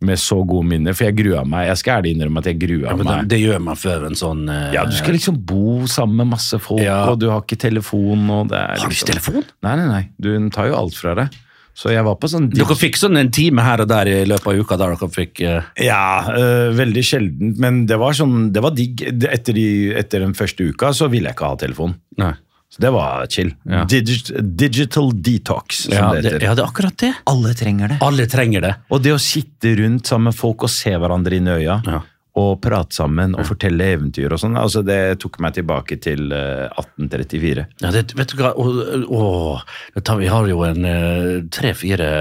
med så gode minner, for jeg grua meg. Jeg skal ærlig innrømme at jeg grua
Ja, men det,
meg.
det gjør man før en sånn eh,
Ja, du skal liksom bo sammen med masse folk,
Ja.
og du har ikke telefon. Og det er
Har du ikke
liksom-
telefon?
Nei, nei, nei. Du den tar jo alt fra deg. Så jeg var på sånn
Dere fikk sånn en time her og der i løpet av uka der dere fikk eh,
Ja, øh, veldig sjeldent, men det var sånn, det var digg. Etter, de, etter den første uka så ville jeg ikke ha telefon.
Nei.
Så det var chill.
Ja.
Digit, digital detox, som
Ja,
det
det,
heter.
ja, det er akkurat det.
Alle trenger det.
Alle trenger det.
Og det å sitte rundt sammen med folk og se hverandre inn i øya,
Ja.
og prate sammen og fortelle eventyr og sånn, altså det tok meg tilbake til eh, 1834.
Ja, det, vet du hva, å, å, det tar, Vi har jo en eh, tre-fire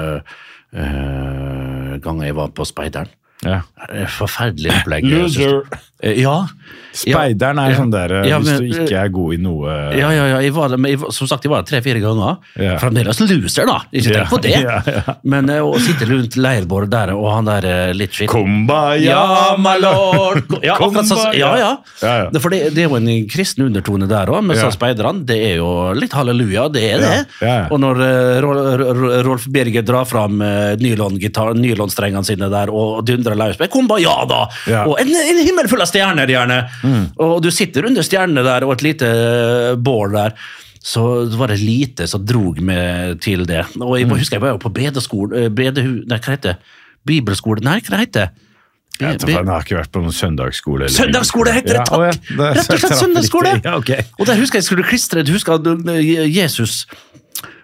eh, eh, ganger jeg var på Speideren.
Ja.
Eh, Forferdelig opplegg. jeg synes. Eh, Ja.
Speideren er
Ja.
sånn der eh,
Ja, men-
hvis du ikke er god i noe eh,
Ja, ja, ja. Jeg var, der, men jeg, var- som sagt, jeg var der tre-fire ganger.
Ja.
Fremdeles loser, da. Ikke tenk på det.
[LAUGHS] Ja, ja.
Men eh, å sitte rundt leirbålet der, og han der eh, litt skitten
Kumbaya,
Ja, my lord!
[LAUGHS]
[LAUGHS] Ja, akkurat sånn. Ja, ja.
Ja, ja.
Det- For det, det er jo en kristen undertone der òg, men
Ja.
så speiderne, det er jo litt halleluja, det er det.
Ja, ja, ja.
Og når eh, Ro- Ro- Rolf Birger drar fram eh, nylongitar- nylonstrengene sine der og dundrer løs med kumbaya, da!
Ja. Mm.
Og en, en himmel full av stjerner, gjerne! Og du sitter under stjernene der, og et lite eh, bål der. Så var det lite som drog meg til det. Og
Mm.
jeg må huske, jeg var jo på bedeskole eh, bedehu, Nei, hva heter det? Bibelskole? Nei, hva heter det?
Jeg vet da
Be-
faen, jeg har ikke vært på noen søndagsskole. eller-
Søndagsskole heter det,
Ja, å [LAUGHS] ja,
takk!
er-
Rett og slett
traff litt i.
søndagsskole!
Ja, ok.
Og der husker jeg skulle klistre Du husker at eh, Jesus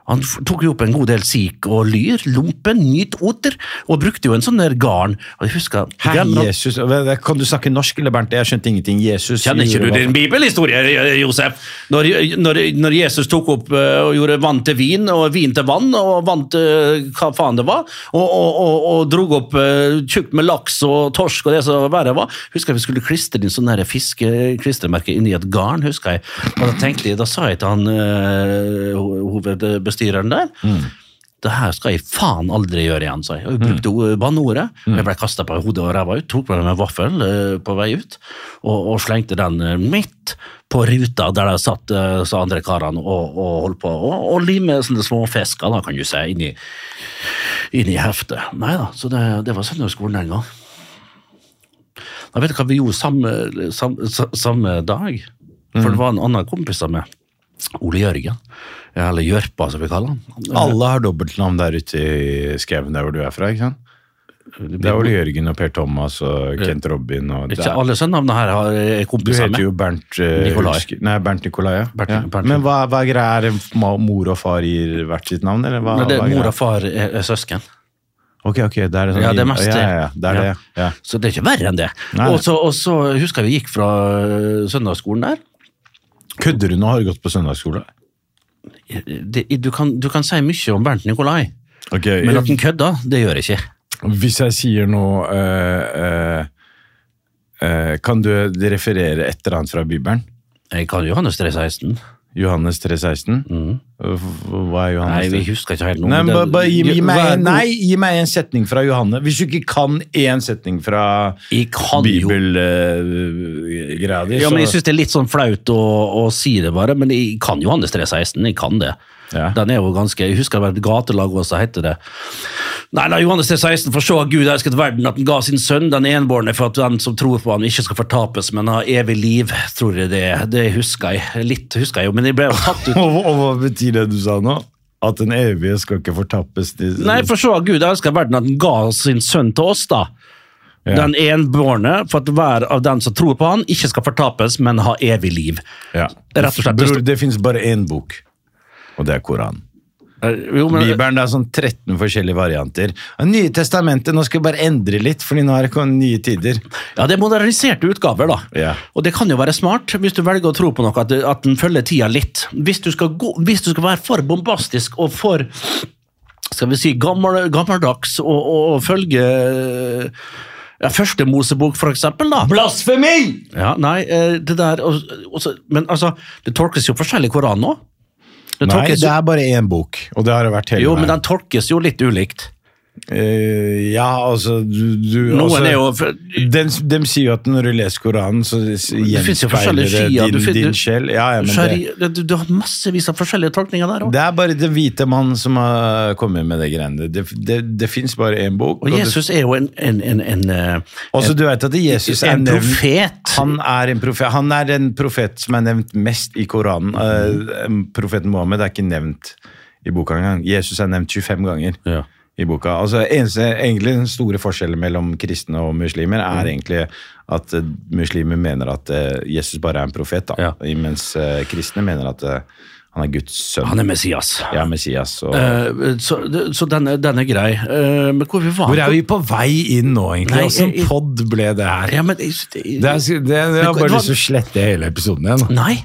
han f- tok jo opp en god del sik og lyr, lompen, nyt oter, og brukte jo en sånn der garn. Og jeg husker
Herre
Ja, men han-
Jesus, Kan du snakke norsk, eller Bernt? Jeg skjønte ingenting. Jesus
Kjenner ikke du
gjorde
din bibelhistorie, eh, Josef? Når, når, når Jesus tok opp eh, og gjorde vann til vin, og vin til vann, og vann til eh, hva faen det var, og, og, og, og drog opp eh, tjukt med laks og torsk og det som verre var Husker jeg vi skulle klistre inn sånn der fiskeklistremerke inni et garn, husker jeg. Og da tenkte jeg, da sa jeg til han eh, ho- hovedbestyreren der det her skal jeg faen aldri gjøre igjen, sa jeg.
Mm.
Og jeg brukte o- banneordet. Jeg ble kasta på hodet og ræva ut, tok på meg en vaffel eh, på vei ut, og, og slengte den eh, midt på ruta der de satt, eh, så andre karene, og, og holdt på å og lime sånne små fisker, da, kan du si, inni, inni heftet. Nei da, så det, det var søndagsskolen den gang. Da vet du hva vi gjorde samme, samme, samme dag? For
Mm.
det var en annen kompis av meg, Ole Jørgen. Eller Jørpa, som vi kaller han.
det. Alle har dobbeltnavn der ute i skauen der hvor du er fra, ikke sant?
Eh,
Det er Ole Jørgen og Per Thomas og Kent Robin og det
Ikke
er-
alle sønnene her har er
Du
kompiser
heter
med.
jo Bernt eh,
Nikolai.
Hulsker- Nei, Bernt Nikolai, ja.
Bernt-
ja.
Bernt-
Men hva, hva er greia? Er det ma- mor og far gir hvert sitt navn, eller hva?
Men det
hva
er
er
mor og
greia?
far er, er søsken.
Ok, ok, det er det sånn.
Ja, det er mest det.
Ja, ja, ja, det er det, ja.
Så det er ikke verre enn det.
Nei.
Og så, og så husker jeg vi gikk fra øh, søndagsskolen der.
Kødder du nå? Har du gått på søndagsskole?
Det, du, kan, du kan si mye om Bernt Nikolai,
Ok,
men at han kødda, det gjør jeg ikke.
Hvis jeg sier noe eh, eh, eh, Kan du referere et eller annet fra Bibelen?
Jeg kan Johannes 316.
Johannes 3,16? Hva er Johannes
Mhm. Nei, vi
3.16?
husker ikke helt noe.
Nei,
men
ba,
den-
ba, gi, gi meg,
Vær
en-
god.
nei, gi meg en setning fra Johanne. Hvis du ikke kan én setning fra
Jeg kan jo
bibelgrader,
Ja, men jeg syns det er litt sånn flaut å, å si det, bare. Men jeg kan Johannes 316. Jeg kan det.
Ja.
Den er jo ganske Jeg husker det var et gatelag også, heter det. Nei, nei, Johannes 316, for så har Gud elsket verden, at han ga sin sønn, den enbårne, for at den som tror på ham, ikke skal fortapes, men ha evig liv, tror jeg det er. Det husker jeg. Litt husker jeg jo, men jeg ble jo tatt ut.
[LAUGHS] og, [LAUGHS] hva- og hva betyr det du sa nå? At den evige skal ikke fortappes til
Nei, for så har Gud elsket verden, at han ga sin sønn til oss, da.
Ja.
Den enbårne, for at hver av den som tror på han, ikke skal fortapes, men ha evig liv.
ja.
Rett og slett.
Bror, det fins bare én bok, og det er Koranen.
Eh, Jo, men,
Bibelen det er sånn 13 forskjellige varianter. Og Nye testamentet, nå skal jeg bare endre litt, fordi nå er det kommet nye tider.
Ja, det er moderniserte utgaver, da.
Ja.
Og det kan jo være smart, hvis du velger å tro på noe, at, det- at den følger tida litt. Hvis du, skal gå, hvis du skal være for bombastisk og for skal vi si, gammel, gammeldags og, og, og følge ja, Første Mosebok, for eksempel, da.
Blasfemi!
Ja, nei, eh, det der og, og så, Men altså, det tolkes jo forskjellig i Koranen òg.
Nei, det er bare én bok, og det har det vært hele
Jo, men
veien.
den tolkes jo litt ulikt.
Eh, ja, altså du, du
Noen
altså,
er jo
Den, de sier jo at når du leser Koranen, så
finnes jo
gjenspeiler
forskjellige
det
skier,
din,
du fin-
din
du-
sjel. Ja, ja, men det,
Shari, du, du har massevis av forskjellige tolkninger der òg.
det er bare den hvite mann som har kommet med det greiene. Det, det, det fins bare én bok.
Og
det-
Jesus er jo en, en, en, en, eh,
også, du vet at Jesus er
en
nevnt-
profet.
Han er en profet. Han er en profet som er nevnt mest i Koranen. Eh, profeten Mohammed er ikke nevnt i boka engang. Jesus er nevnt 25 ganger.
Ja.
i boka. Altså, eneste, egentlig Den store forskjellen mellom kristne og muslimer er egentlig at eh, muslimer mener at eh, Jesus bare er en profet, da.
Ja.
mens eh, kristne mener at eh, han er Guds sønn.
Han er Messias.
ja, Messias. Og...
Eh, så det- så den, er- den er grei. Eh, men hvor vi var
Hvor er vi på vei inn nå, egentlig?
Nei,
Åssen
jeg-
pod ble det her?
Ja, men jeg, synes det-
Det er, det, jeg har
det
bare
var-
lyst til å slette hele episoden igjen.
Nei,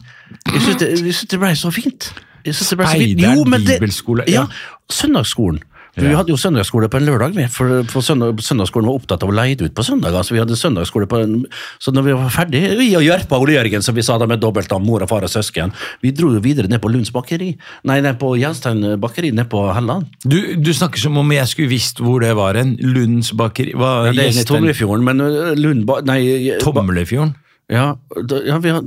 jeg syns det, jeg synes det ble så fint. Jeg synes det ble så fint.
Speideren,
men det-
bibelskole, ja.
Ja, søndagsskolen. For Vi
Ja.
hadde jo søndagsskole på en lørdag, vi, for, for søndag, søndagsskolen var opptatt av å leie det ut på søndag. Altså, vi hadde søndagsskole på en, Så når vi var ferdig, vi og Jørpa og Ole Jørgen, som vi sa da med dobbelt av mor og far og søsken, vi dro jo videre ned på Lunds bakeri. Nei, ned på Gjenstein bakeri ned på Helland.
Du, snakker som om jeg skulle visst hvor det var en. Lunds bakeri
Ja, det er ikke Tomlefjorden, men ø, Lundba... Nei, ø, ba-
Tomlefjorden?
ja, da, ja, vi har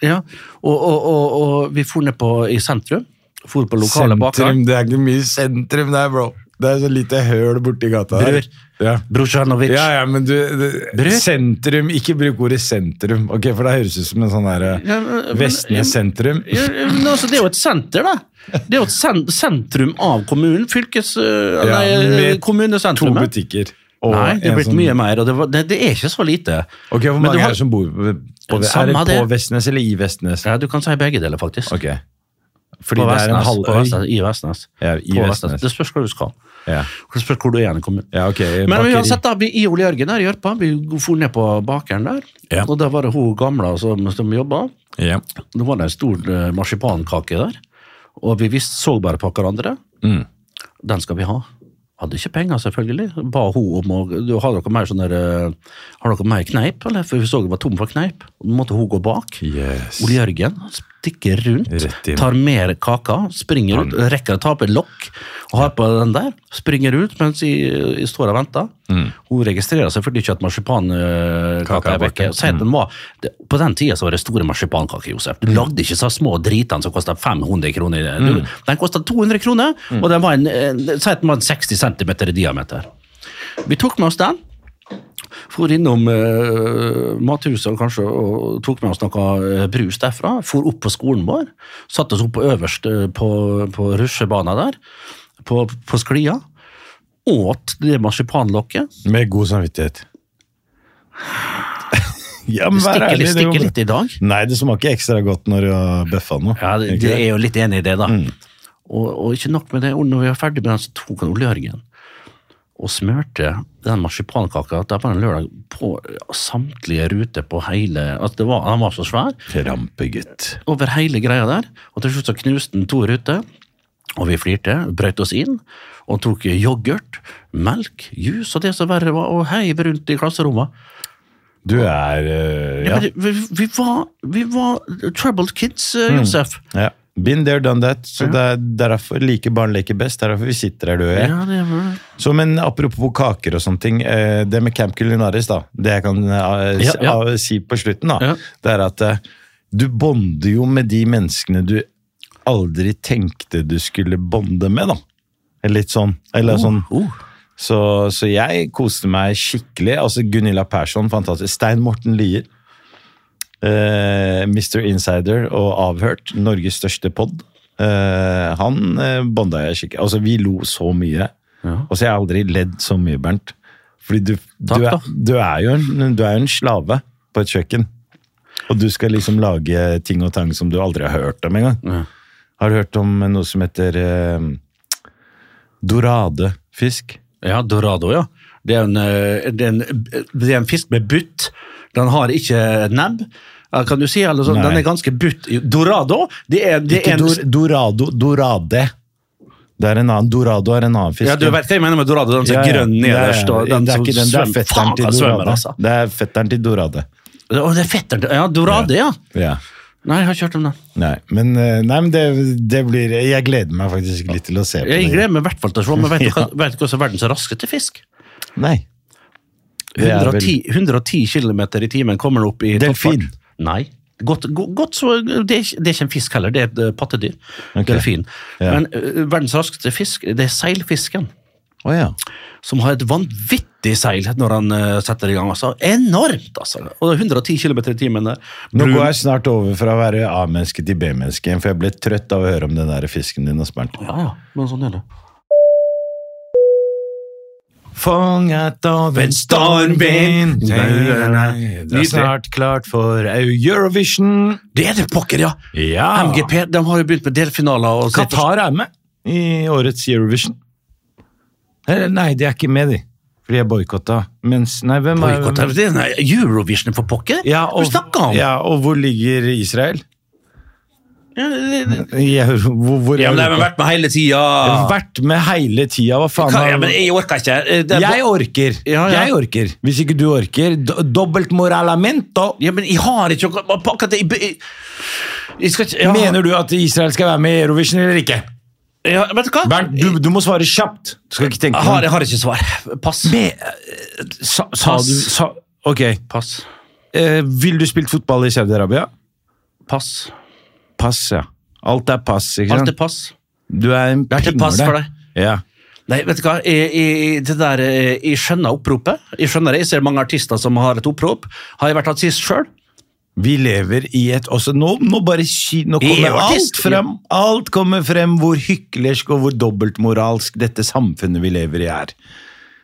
Ja, og, og, og, og vi for ned på, i sentrum. For på lokale bakeren.
det er ikke mye sentrum der, bro. Det er så lite høl borti gata
Bror.
Ja.
Brosjanovic.
Ja, ja, men du, du
Brød?
Sentrum, ikke bruk ordet sentrum. Ok, For det høres ut som en sånn derre
Ja, men-
Vestnes sentrum.
Ja, men altså, det er jo et senter, da. Det er jo et sen sentrum av kommunen. Fylkes... ø,
Ja,
Nei, ø,
med To
kommunesentrumet.
butikker.
Nei, det
en
er blitt
sånn-
mye mer, og det, var, det, det er ikke så lite.
Ok, Hvor
Men
mange
du
er
har-
det som bor på, på
Samme
Er det på
det.
Vestnes eller i Vestnes?
Ja, du kan si begge deler, faktisk.
Ok. Fordi
på
det er en
Vestnes, på
halvøy.
Vestnes, I Vestnes.
Ja, i
På
Vestnes.
Det spørs hva du skal.
Ja.
Det spørs hvor du er i en kommune.
ja, ok.
Men
Eh, bakeri.
uansett, da, vi, i Ole Jørgen der i Jørpa, vi for ned på bakeren der,
Ja.
og der var det hun gamla som, som jobba.
Ja.
Det var det en stor eh, marsipankake der, og vi visst så bare på hverandre.
Mm.
Den skal vi ha. Hadde ikke penger, selvfølgelig. Ba hun om å du, Har dere mer sånn der eh, Har dere mer kneip, eller? For vi så det var tom for kneip. Og da måtte hun gå bak.
Yes.
Ole Jørgen han stikker rundt,
Rett inn.
tar mer kaka, springer ut, rekker å ta på et lokk og har på den der. Springer ut mens jeg, jeg står og venter.
Mm.
Hun registrerer selvfølgelig ikke at marsipankaka
Kaka er
er vekke.
borte.
Si at den var, det, på den tida så var det store marsipankaker, Josef. Du lagde ikke så små dritene som kosta 500 kroner. Du, Den kosta 200 kroner, og den var en, en, si at den var en 60 cm i diameter. Vi tok med oss den. For innom eh, mathuset og kanskje og tok med oss noe eh, brus derfra. For opp på skolen vår. Satte oss opp på øverst eh, på, på rusjebana der, på, på sklia. Åt det marsipanlokket.
Med god samvittighet. ja, men
Det
vær
stikker,
ærlig,
litt-
det går
stikker
bra.
litt i dag.
Nei, det smaker ekstra godt når du har bøffa noe.
Ja, det,
Ikke
det Mm. er jo litt enig i det, da. Og, og ikke nok med det, og når vi var ferdig med den, så tok han Ole Jørgen og smørte den marsipankaka der på en lørdag på samtlige ruter på hele altså det var, Han var så svær.
Trampegutt.
over hele greia der, og til slutt så knuste den to ruter. Og vi flirte, brøt oss inn og tok yoghurt, melk, juice og det som verre var, og heiv rundt i klasserommene.
Du er eh,
Ja.
ja.
men Vi, vi, var, vi var troubled kids, eh, Josef.
ja. Been there, done that. Så det er derfor like barn leker best. Det er derfor vi sitter her, du og jeg.
Ja, det var det.
Så, men apropos kaker og sånne ting. eh, Det med Camp Culinaris, da. Det jeg kan eh, s-
Ja, ja.
eh, si på slutten, da.
Ja.
Det er at eh, du bonder jo med de menneskene du aldri tenkte du skulle bonde med, da. Litt sånn. Eller sånn.
Oh.
Så, så jeg koste meg skikkelig. Altså Gunilla Persson, fantastisk. Stein Morten Lier. Eh, Mr. Insider og Avhørt, Norges største pod. Eh, han eh, bonda jeg skikkelig. Altså, vi lo så mye. Og så har jeg aldri ledd så mye, Bernt. Fordi du,
Takk,
du,
da.
er, du, er jo en, du er jo en slave på et kjøkken. Og du skal liksom lage ting og tang som du aldri har hørt om engang. Har du hørt om noe som heter eh, doradefisk?
Ja, dorado, ja. Det er en, eh, det er en, det er en fisk med butt. Den har ikke nebb, eh, kan du si. Eller sånn.
Nei.
Den er ganske butt. Dorado, det er, det
Ikke
er en
dor, dorado, dorade. Det er en annen, dorado er en annen fisk.
Ja, du vet hva jeg mener med dorado. Den som er grønn nederst.
Det er,
og den
det er
som
ikke den, det er
svømmer.
fetteren
Faen,
til
han svømmer,
dorade.
altså.
Det er fetteren til dorade.
Å, det er fetteren til Ja, dorade, ja.
Ja.
Nei, jeg har ikke hørt om den.
Nei, men, eh, nei, men det, det blir Jeg gleder meg faktisk litt til å se på
Jeg
det.
gleder meg i hvert fall til å se, men vet
[LAUGHS]
du hva, vet du hva som er verdens raskeste fisk?
Nei. Det er vel-
110, 110 km i timen kommer den opp i
Delfin.
toppfart. Nei. Godt, go- godt så, det, er, ikke- det er ikke en fisk heller, det er et eh, pattedyr.
Ok.
Delfin.
Ja.
Men eh, verdens raskeste fisk, det er seilfisken.
Å ja.
Som har et vanvittig seil når han eh, setter i gang. Altså. Enormt, altså! Og det er 110 km i timen der.
Nå
Brun-
går jeg snart over fra å være A-menneske til B-menneske igjen, for jeg ble trøtt av å høre om den der fisken din. Hans Bernt.
Ja, ja, men sånn er det.
Fanget av en stormvind Det er snart klart for Eurovision.
Det er det pokker, ja!
Ja!
MGP de har jo begynt med delfinaler. Og
Qatar er med i årets Eurovision. Eller, nei, de er ikke med, de. For de er boikotta. Mens Nei, hvem er
Boikott er det? Nei, Eurovision, for pokker!
Ja,
Hva snakker om?
ja, og hvor ligger Israel?
Ja, det- det-
I Euro, hvor, hvor i
Ja, men de har
Europa?
vært med hele tida.
De har vært med hele tida, hva faen
Hva-
er-
Ja, men jeg orker ikke. Eh, det er
Jeg
ba-
orker!
Ja, ja.
Jeg orker. Hvis ikke du orker, do- dobbelt moralamento!
ja, men jeg har ikke noe- hva pokker, det- jeg- jeg- Jeg skal ikke jeg har-
Mener du at Israel skal være med i Eurovision eller ikke?
Ja, Vet du hva?
Bernt, du, du må svare kjapt! Du skal ikke
jeg,
tenke
har, jeg har ikke svar. Pass.
Sa, sa
Pass.
du sa, Ok.
Pass.
Eh, vil du spilt fotball i Saudi-Arabia?
Pass.
Pass, ja. Alt er pass, ikke
Alt er
sant?
pass.
Du er en
Det er til pass for deg.
Ja.
Nei, vet du hva? Jeg, jeg, det der, eh, jeg skjønner oppropet. Jeg skjønner det. Jeg ser mange artister som har et opprop. Har jeg vært artist sjøl?
Vi lever i et også, nå, nå bare sky, nå
Vi er
kommer
jo
alt
artist.
frem. Alt kommer frem hvor hyklersk og hvor dobbeltmoralsk dette samfunnet vi lever i er.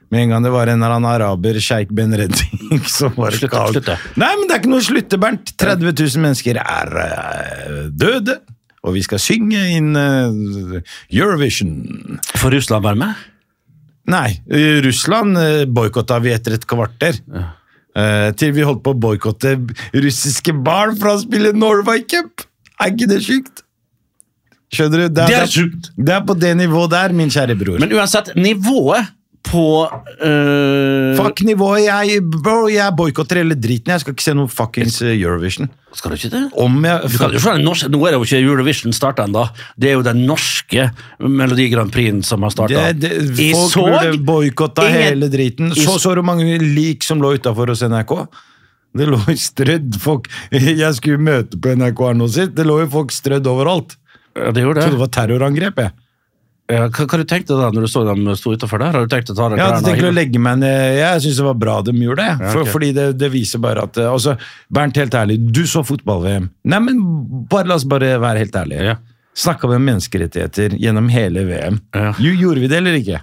Med en gang det var en eller annen araber, Sheikh Ben [LAUGHS] Redding, som var
Slutt,
kald.
slutt det.
Nei, men det er ikke noe å slutte, Bernt. 30 000 mennesker er eh, døde, og vi skal synge inn eh, Eurovision.
Får Russland være med?
Nei, eh, Russland eh, boikotta vi etter et kvarter. Eh, til vi holdt på å boikotte russiske barn fra å spille Norway Cup! Er ikke det sjukt? Skjønner du? Det
Det er sjukt.
Det er på det nivået der, min kjære bror.
Men uansett, nivået på eh,
Fuck nivået. Jeg, bro, jeg boikotter hele driten. Jeg skal ikke se noe fuckings eh, Eurovision.
Skal du ikke det?
Om jeg
Du kan jo se den norske, Nå er det jo ikke Eurovision starta ennå. Det er jo den norske Melodi Grand Prix som har starta.
det, det, Folk burde boikotta hele driten.
Jeg-
Så så du mange lik som lå utafor hos NRK? Det lå i strødd folk [LAUGHS] Jeg skulle møte på NRK her nå sist. Det lå jo folk strødd overalt.
Ja, det
Jeg
gjorde
trodde
det.
det var terrorangrep. jeg.
Ja, hva, hva du tenkte du da når du så dem sto utafor der? Har du tenkt å ta den
Jeg hadde
klærne
tenkt å
og hive-
legge meg ned. Jeg syns det var bra de gjorde det. For,
ok.
Fordi det, det viser bare at eh, altså, Bernt, helt ærlig, du så fotball-VM. Nei, men bare, la oss bare være helt ærlige.
Ja.
Snakka vi om menneskerettigheter gjennom hele VM?
Ja.
Jo, gjorde vi det eller ikke?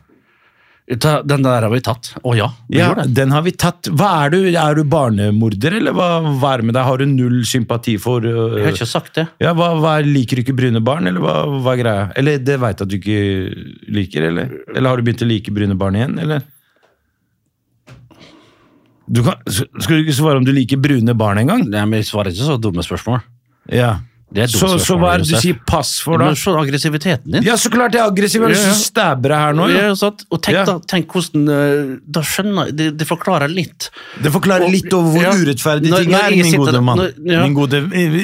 Ta, Den der har vi tatt. Å ja, vi
Ja,
gjorde det.
den har vi tatt. Hva Er du Er du barnemorder, eller hva, hva er det med deg? Har du null sympati for øh,
Jeg har ikke sagt det.
ja, hva, hva, er- Liker du ikke brune barn, eller hva, hva er greia? Eller det veit jeg at du ikke liker, eller? Eller har du begynt å like brune barn igjen, eller? Du kan, s- skal du ikke svare om du liker brune barn engang?
Nei, men Jeg svarer ikke så dumme spørsmål.
Ja.
Det er et dumt
Så, så hva
spørsmål,
er det du
Josef.
sier pass for,
Men
da?
Se aggressiviteten din.
Ja, så klart jeg er aggressiv! Jeg
Ja, ja.
er stabber her nå.
Ja,
Ja.
sant? Og tenk,
Ja.
da, tenk hvordan eh, Da skjønner jeg Det, det forklarer litt.
Det forklarer
Og-
litt over hvor
Ja.
urettferdig
Når-
ting
når
er,
jeg
min
sitter-
gode mann.
når- ja.
Min gode,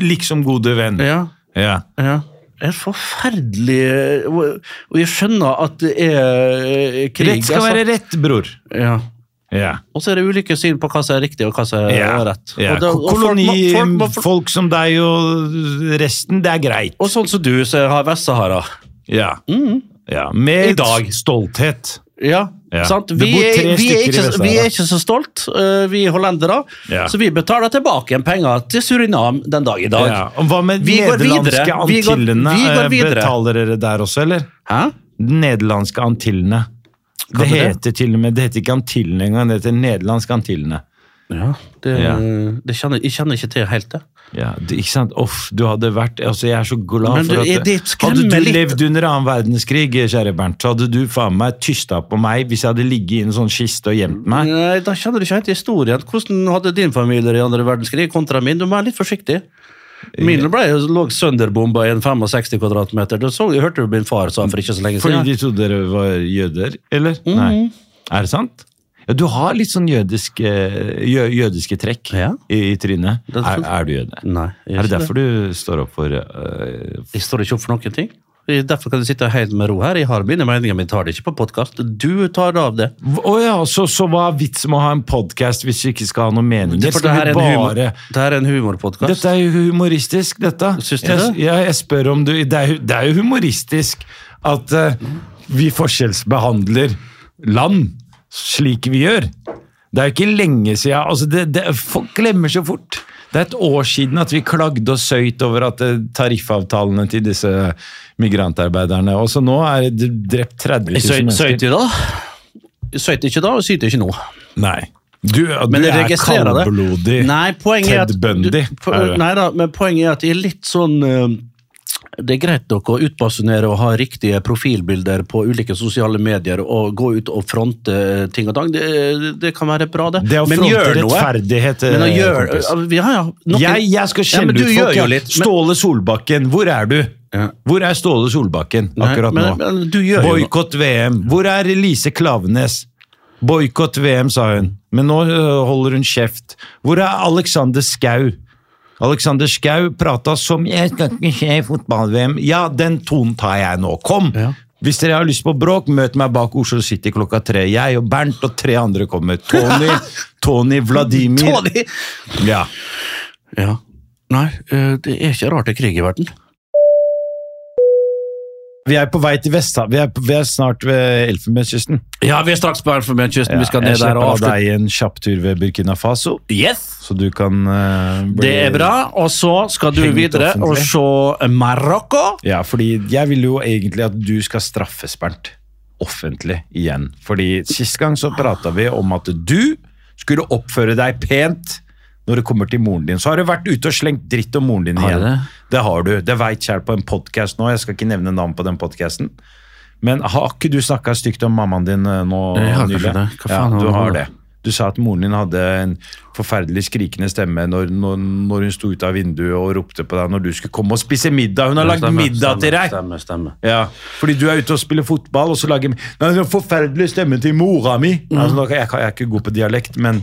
liksom gode venn.
Ja,
Ja.
ja. Det er forferdelig Og og jeg skjønner at det er eh, krig.
Rett skal
altså.
være rett, bror.
Ja.
Ja.
Og så er det ulike syn på hva som er riktig, og hva som er
Ja.
rett.
Ja.
Og da- og folk
Koloni,
må- folk må-
folk, som deg og resten, det er greit.
Og sånn som du, som har Vest-Sahara.
Ja. ja.
Mm. I
Med
dag.
stolthet.
Ja,
Ja.
sant?
Det
Vi,
bor
er,
tre
vi, er
stykker i
ikke,
Vest-Sahara.
vi er ikke så stolt, eh, vi hollendere,
Ja.
så vi betaler tilbake igjen penger til Surinam den dag i dag.
Ja. Og hva med
Vi går
nederlandske
videre. Vi går-
antillene?
vi går
Eh,
videre.
Betaler dere der også, eller?
Hæ?
Nederlandske antillene. Det
det?
heter til og med, det heter ikke antillene engang, det heter nederlandske antillene.
Ja, det,
Ja.
det kjenner, jeg kjenner ikke til helt det.
Ja, det, ikke sant? Off, du hadde vært altså Jeg er så glad
Men
for
du,
at
er det
Hadde
skremmer
du
litt?
levd under annen verdenskrig, kjære Bernt, så hadde du faen meg tysta på meg hvis jeg hadde ligget i en sånn kiste og gjemt meg.
Nei, Da kjenner du ikke helt historien. Hvordan hadde din familie i andre verdenskrig kontra min? Du må være litt forsiktig. Min ble jo- lå sønderbomba i en 65 kvadratmeter. Det så, jeg hørte jo min far sa for ikke så lenge
Fordi
siden.
de trodde dere var jøder, eller?
Mm.
Nei. Er det sant? Ja, du har litt sånn jødiske, jø, jødiske trekk
Ja.
i, i trynet.
er
Er,
sant.
er du jøde?
Nei, jeg
Er det
ikke
derfor du står opp for øh,
Jeg står ikke opp for noen ting. Jeg- Derfor kan du sitte helt med ro her. Jeg har mine meninger, men jeg tar det ikke på podkast. Du tar det av det.
Å ja, så, så hva er vits med å ha en podkast hvis vi ikke skal ha noen meninger?
Det, for det
Skal
her
vi
er en, humor,
bare-
det her er en humorpodkast.
Dette er jo humoristisk, dette.
Syns du
jeg,
det?
Ja, jeg spør om du Det er, jo- det er jo humoristisk at eh, vi forskjellsbehandler land slik vi gjør. Det er jo ikke lenge siden altså det, det, Folk glemmer så fort. Det er et år siden at vi klagde og søyt over at eh, tariffavtalene til disse migrantarbeiderne Og så nå er det drept 30
Jeg
000
søy- Søyt
mennesker.
i da. Jeg Søyt ikke da, og syter ikke nå.
Nei. Du,
Men
du
jeg
er
registrerer det.
kaldblodig.
Nei, poenget er at,
Ted Bundy,
du-
er
po-
det.
Nei da, men poenget er at jeg er litt sånn eh, det er greit nok å utbasunere og ha riktige profilbilder på ulike sosiale medier og gå ut og fronte eh, ting og tang. Det, det kan være bra, det.
Det er å
men
fronte
gjør noe.
rettferdighet.
Men å
eh,
gjøre,
kompis.
ja, ja, noen-
jeg, jeg skal
Ja,
skjelle
men
ut
du
folk.
gjør jo
ja.
litt, men-
Ståle Solbakken, hvor er du?
Ja.
Hvor er Ståle Solbakken
Nei,
akkurat
men-
nå?
men du gjør jo noe.
Boikott VM. Hvor er Lise Klavenes? Boikott VM, sa hun. Men nå øh, holder hun kjeft. Hvor er Alexander Skau? Alexander Skau prata som 'jeg skal ikke se fotball-VM'. Ja, den tonen tar jeg nå. Kom!
Ja.
Hvis dere har lyst på bråk, møt meg bak Oslo City klokka tre. Jeg og Bernt og tre andre kommer. Tony,
[LAUGHS]
Tony Vladimir.
Tony!
Ja.
Ja. Nei, eh, det er ikke rart det er krig i verden.
Vi er på vei til Vesthav. Vi er, på, vi er snart ved Elfenbenskysten.
Ja, vi er straks på Elfenbenskysten. vi skal
jeg
ned der
slipper
og
av
avslutte.
deg en kjapp tur ved Burkina Faso,
Yes!
så du kan eh, bli-
Det er bra. Og så skal du
Heng ut
videre og
offentlig.
se Marokko.
Ja, fordi jeg vil jo egentlig at du skal straffes, Bernt. Offentlig igjen. Fordi sist gang så prata vi om at du skulle oppføre deg pent når det kommer til moren din. Så har du vært ute og slengt dritt om moren din
Har jeg
igjen.
det?
Det har du. Det veit jeg på en podkast nå. Jeg skal ikke nevne navn på den podkasten. Men har ikke du snakka stygt om mammaen din eh, nå
Jeg har
nylig?
kanskje det. Hva
Ja,
faen har
du
hun
har
nå?
det. Du sa at moren din hadde en forferdelig skrikende stemme når, når, når hun sto ut av vinduet og ropte på deg når du skulle komme og spise middag. Hun har lagd middag til deg!
Stemme, stemme.
Ja, fordi du er ute og spiller fotball, og så lager Nei, det er forferdelig stemme til mora mi!
Mm.
Altså, nå kan- jeg, kan- jeg er ikke god på dialekt, men,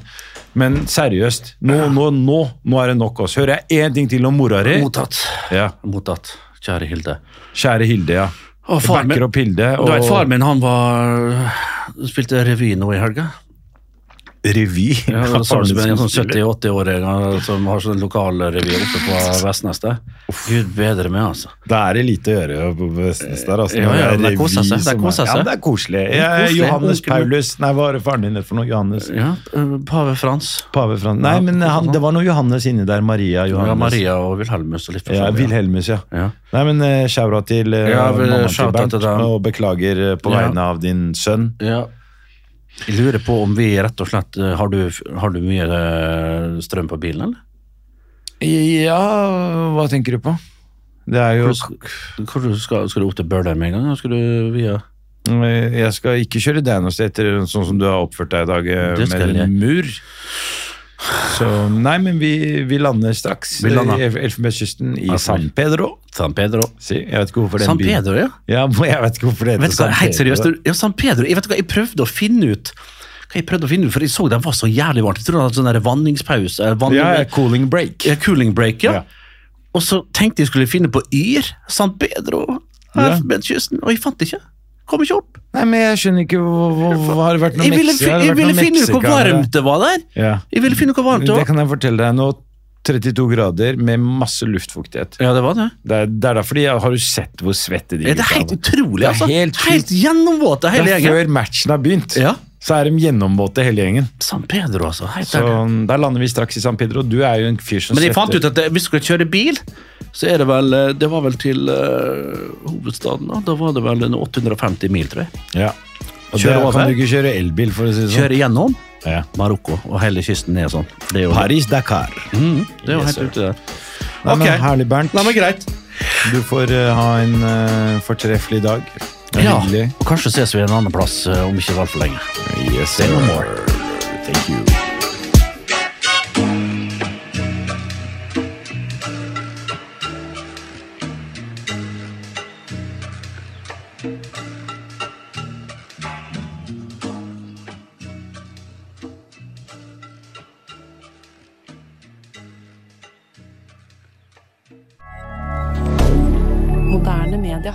men seriøst. Nå, nå, nå, nå er det nok oss. Hører jeg én ting til om mora di
Mottatt.
ja.
Eh? Mottatt, kjære Hilde.
Kjære Hilde, ja.
Å,
Jeg
far min-
backer opp Hilde.
Du vet, faren min han var spilte revy nå i helga.
revy. Hva
Ja, det var
faren
Sarpsborg, en
din
sånn
skulle spille.
70-80-åring han, som har sånn lokal revy oppe på [LAUGHS] Vestnes. der. Gud bedre meg, altså.
Da er det lite å gjøre på Vestnes der. Altså.
Ja, ja,
Når
det er
revy
kosa seg, det er
som
kosa
Ja,
seg.
det er koselig.
Det er koselig.
Johannes
Onkel-
Paulus Nei, hva var det faren din het for noe? Johannes?
Ja, eh, Pave Frans.
Pave Frans? Nei, men han, det var noe Johannes inni der. Maria Johannes.
Ja, Maria og Wilhelmus og litt
Ja,
forskjellig.
Wilhelmus, ja.
Ja.
Nei, men eh, shout-out til eh,
Ja, vel,
mammaen til
shout-out
Bernt,
til dem.
og beklager eh, på
Ja.
vegne av din sønn.
Ja. Jeg lurer på om vi rett og slett eh, Har du, har du mye eh, strøm på bilen, eller?
Ja, hva tenker du på? Det er jo
Hvor sk- Hvor du skal, skal du opp til Bøler med en gang? eller Skal du via
Mm, Jeg skal ikke kjøre deg noe sted etter sånn som du har oppført deg i dag, eh,
Det skal
med
jeg.
en mur. Så nei, men vi, vi lander straks
Vi lander.
i Elf- Elfenbenskysten i
Altså.
San Pedro.
San Pedro.
Si, jeg vet ikke hvorfor den
San
byen-
Pedro, ja.
Ja, men jeg vet ikke hvorfor det heter
Vet du hva,
San
helt
Pedro.
seriøst, du- ja, San Pedro, jeg vet hva, jeg prøvde å finne ut hva jeg prøvde å finne ut, for jeg så den var så jævlig varmt. Jeg trodde den hadde sånn der vanningspause. eller Vanning,
Ja, ja, cooling break.
ja, cooling break, ja.
Ja.
Og så tenkte jeg skulle finne på Yr, San Pedro,
Ja.
Elfenbenskysten, og jeg fant det ikke. Kom ikke opp.
Nei, men jeg skjønner ikke hvor, hvor, hvor Har det vært noe
Jeg ville,
Mexico-
fi-
har det
jeg
vært
ville
noe
finne ut hvor
mexikanere?
varmt det var der.
Ja.
Jeg ville finne ut hvor varmt det
Det
var.
kan jeg fortelle deg nå. 32 grader med masse luftfuktighet.
Ja, det var det.
Det er, det er derfor de Har du sett hvor svette de
Ja, Det er
gutta
helt
var?
utrolig,
Det er
altså.
helt
Helt, gjennomvåte, hele
Det er før
gjengen.
matchen har begynt.
Ja.
Så er de gjennomvåte, hele gjengen.
San Pedro, altså. Helt
Så um,
ærlig.
Der lander vi straks i San Pedro. Du er jo en fyr som
Men jeg fant
svetter.
ut at det, hvis du skal kjøre bil, så er det vel eh, Det var vel til eh, hovedstaden, da. Da var det vel en 850 mil, tror jeg.
ja. Og
Kjøre
der
over.
kan du ikke kjøre elbil, for å si det sånn.
Kjøre gjennom
Ja.
Marokko og hele kysten ned og sånn. Det er jo
Paris-Dakar.
Mm, det er jo
Yes,
helt ute der.
Nei, men
Ok.
Herlig, Bernt.
Nei, men greit.
Du får eh, ha en eh, fortreffelig dag. Det er
Ja,
hyggelig.
og kanskje ses vi en annen plass eh, om ikke altfor lenge.
Yes,
Say no
sir.
more.
Thank you.
Moderne media.